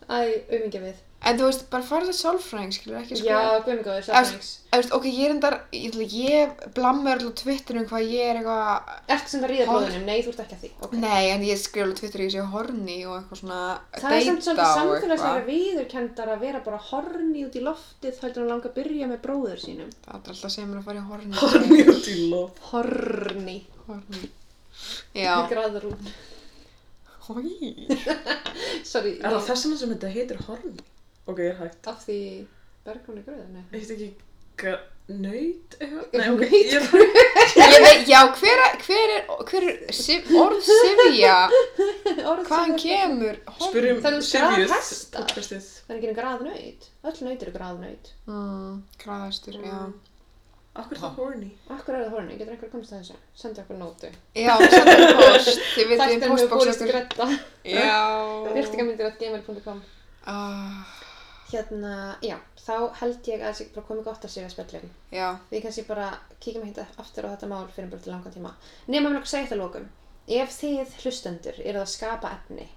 [SPEAKER 2] Æ, auðvitað við.
[SPEAKER 1] En þú veist, bara farið það sjálfræðing, skilur ekki sko.
[SPEAKER 2] Já, guðmið góður, sáfnings.
[SPEAKER 1] Þú veist, ok, ég er endar, ég, ætla- ég blammar alltaf Twitter um hvað ég er eitthvað,
[SPEAKER 2] Ertu sem það ríða
[SPEAKER 1] Hor-
[SPEAKER 2] bróðunum? Nei, þú ert ekki að því. Okay.
[SPEAKER 1] nei, en ég skrifa alveg Twitter í þessi horni og eitthvað svona
[SPEAKER 2] Það er samt svolítið
[SPEAKER 1] og
[SPEAKER 2] samfélagslega viðurkendar að vera bara horni út í loftið heldur en að langa að byrja með bróður sínum.
[SPEAKER 1] Það er alltaf að segja mér að fara í horni.
[SPEAKER 3] Horni út í lof.
[SPEAKER 2] Horni.
[SPEAKER 1] Horni. Já.
[SPEAKER 2] Graðrún.
[SPEAKER 1] Hói.
[SPEAKER 2] Sorry,
[SPEAKER 3] Er það
[SPEAKER 2] ég,
[SPEAKER 3] þess vegna sem þetta heitir horn? Ok, ég er hægt.
[SPEAKER 2] af því Bergrún er
[SPEAKER 3] *laughs*
[SPEAKER 2] gröð, nei.
[SPEAKER 3] Heitir ekki nöyt eitthvað?
[SPEAKER 2] Er
[SPEAKER 3] Nei, ok,
[SPEAKER 2] naut
[SPEAKER 3] ég er hægt.
[SPEAKER 1] Ég veit, já, hver, er- hver er, hver er, sif, orð sifja,
[SPEAKER 2] Orð
[SPEAKER 1] hvaðan
[SPEAKER 2] sem-
[SPEAKER 1] kemur horni?
[SPEAKER 3] Spyrjum
[SPEAKER 2] Það eru
[SPEAKER 3] Sivjus
[SPEAKER 2] graðhestar.
[SPEAKER 3] podcastið.
[SPEAKER 2] Það er ekki graðnöyt. Öll nöyt eru graðnöyt.
[SPEAKER 1] Mm, Graðastur, já.
[SPEAKER 2] Hmm.
[SPEAKER 3] Akkur það horny?
[SPEAKER 2] Akkur er það horni, getur einhver komst að þessu? Sendi okkur nótu.
[SPEAKER 1] Já, sendur post, þið veitum
[SPEAKER 2] Þættir mjög
[SPEAKER 1] postbox
[SPEAKER 2] búið skretta.
[SPEAKER 1] Já.
[SPEAKER 2] Byrtingamindir at gmail.com
[SPEAKER 1] Ah,
[SPEAKER 2] Hérna, já, þá held ég að þessi bara komið gott að séu að spjallum.
[SPEAKER 1] Já,
[SPEAKER 2] Við kannski bara kíkjum hérna aftur á þetta mál fyrir bara til langan tíma. Nefnum við nokkuð segja þetta að lokum. Ef þið hlustendur eru að skapa efni,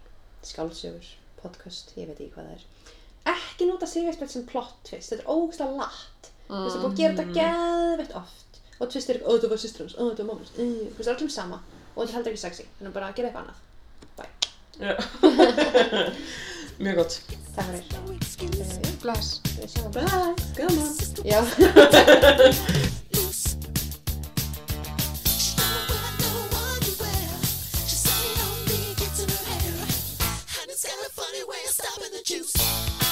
[SPEAKER 2] skálsögur, podcast, ég veit ekki hvað það er, ekki nota sigurspjall sem plot twist. Þetta er ógustlega latt. Þú
[SPEAKER 1] Hmm.
[SPEAKER 2] veist, það er búið að gera þetta geðveitt oft. Og twist er, ó, þetta var sýstur hans, ó, þetta var mamma hans, mm, þú veist, það er öllum sama. Og þetta er heldur ekki sexy, þannig bara gera eitthvað annað.
[SPEAKER 3] Já. Mjög gott.
[SPEAKER 2] Það var þér.
[SPEAKER 4] Excuse me,
[SPEAKER 1] bless.
[SPEAKER 2] Við sjáum bara.
[SPEAKER 3] Bye. Gaman.
[SPEAKER 4] sister,
[SPEAKER 2] Já.
[SPEAKER 4] loose. She don't wear no underwear. She's saying on me, gets in her hair, and it's got a funny way of stopping the juice.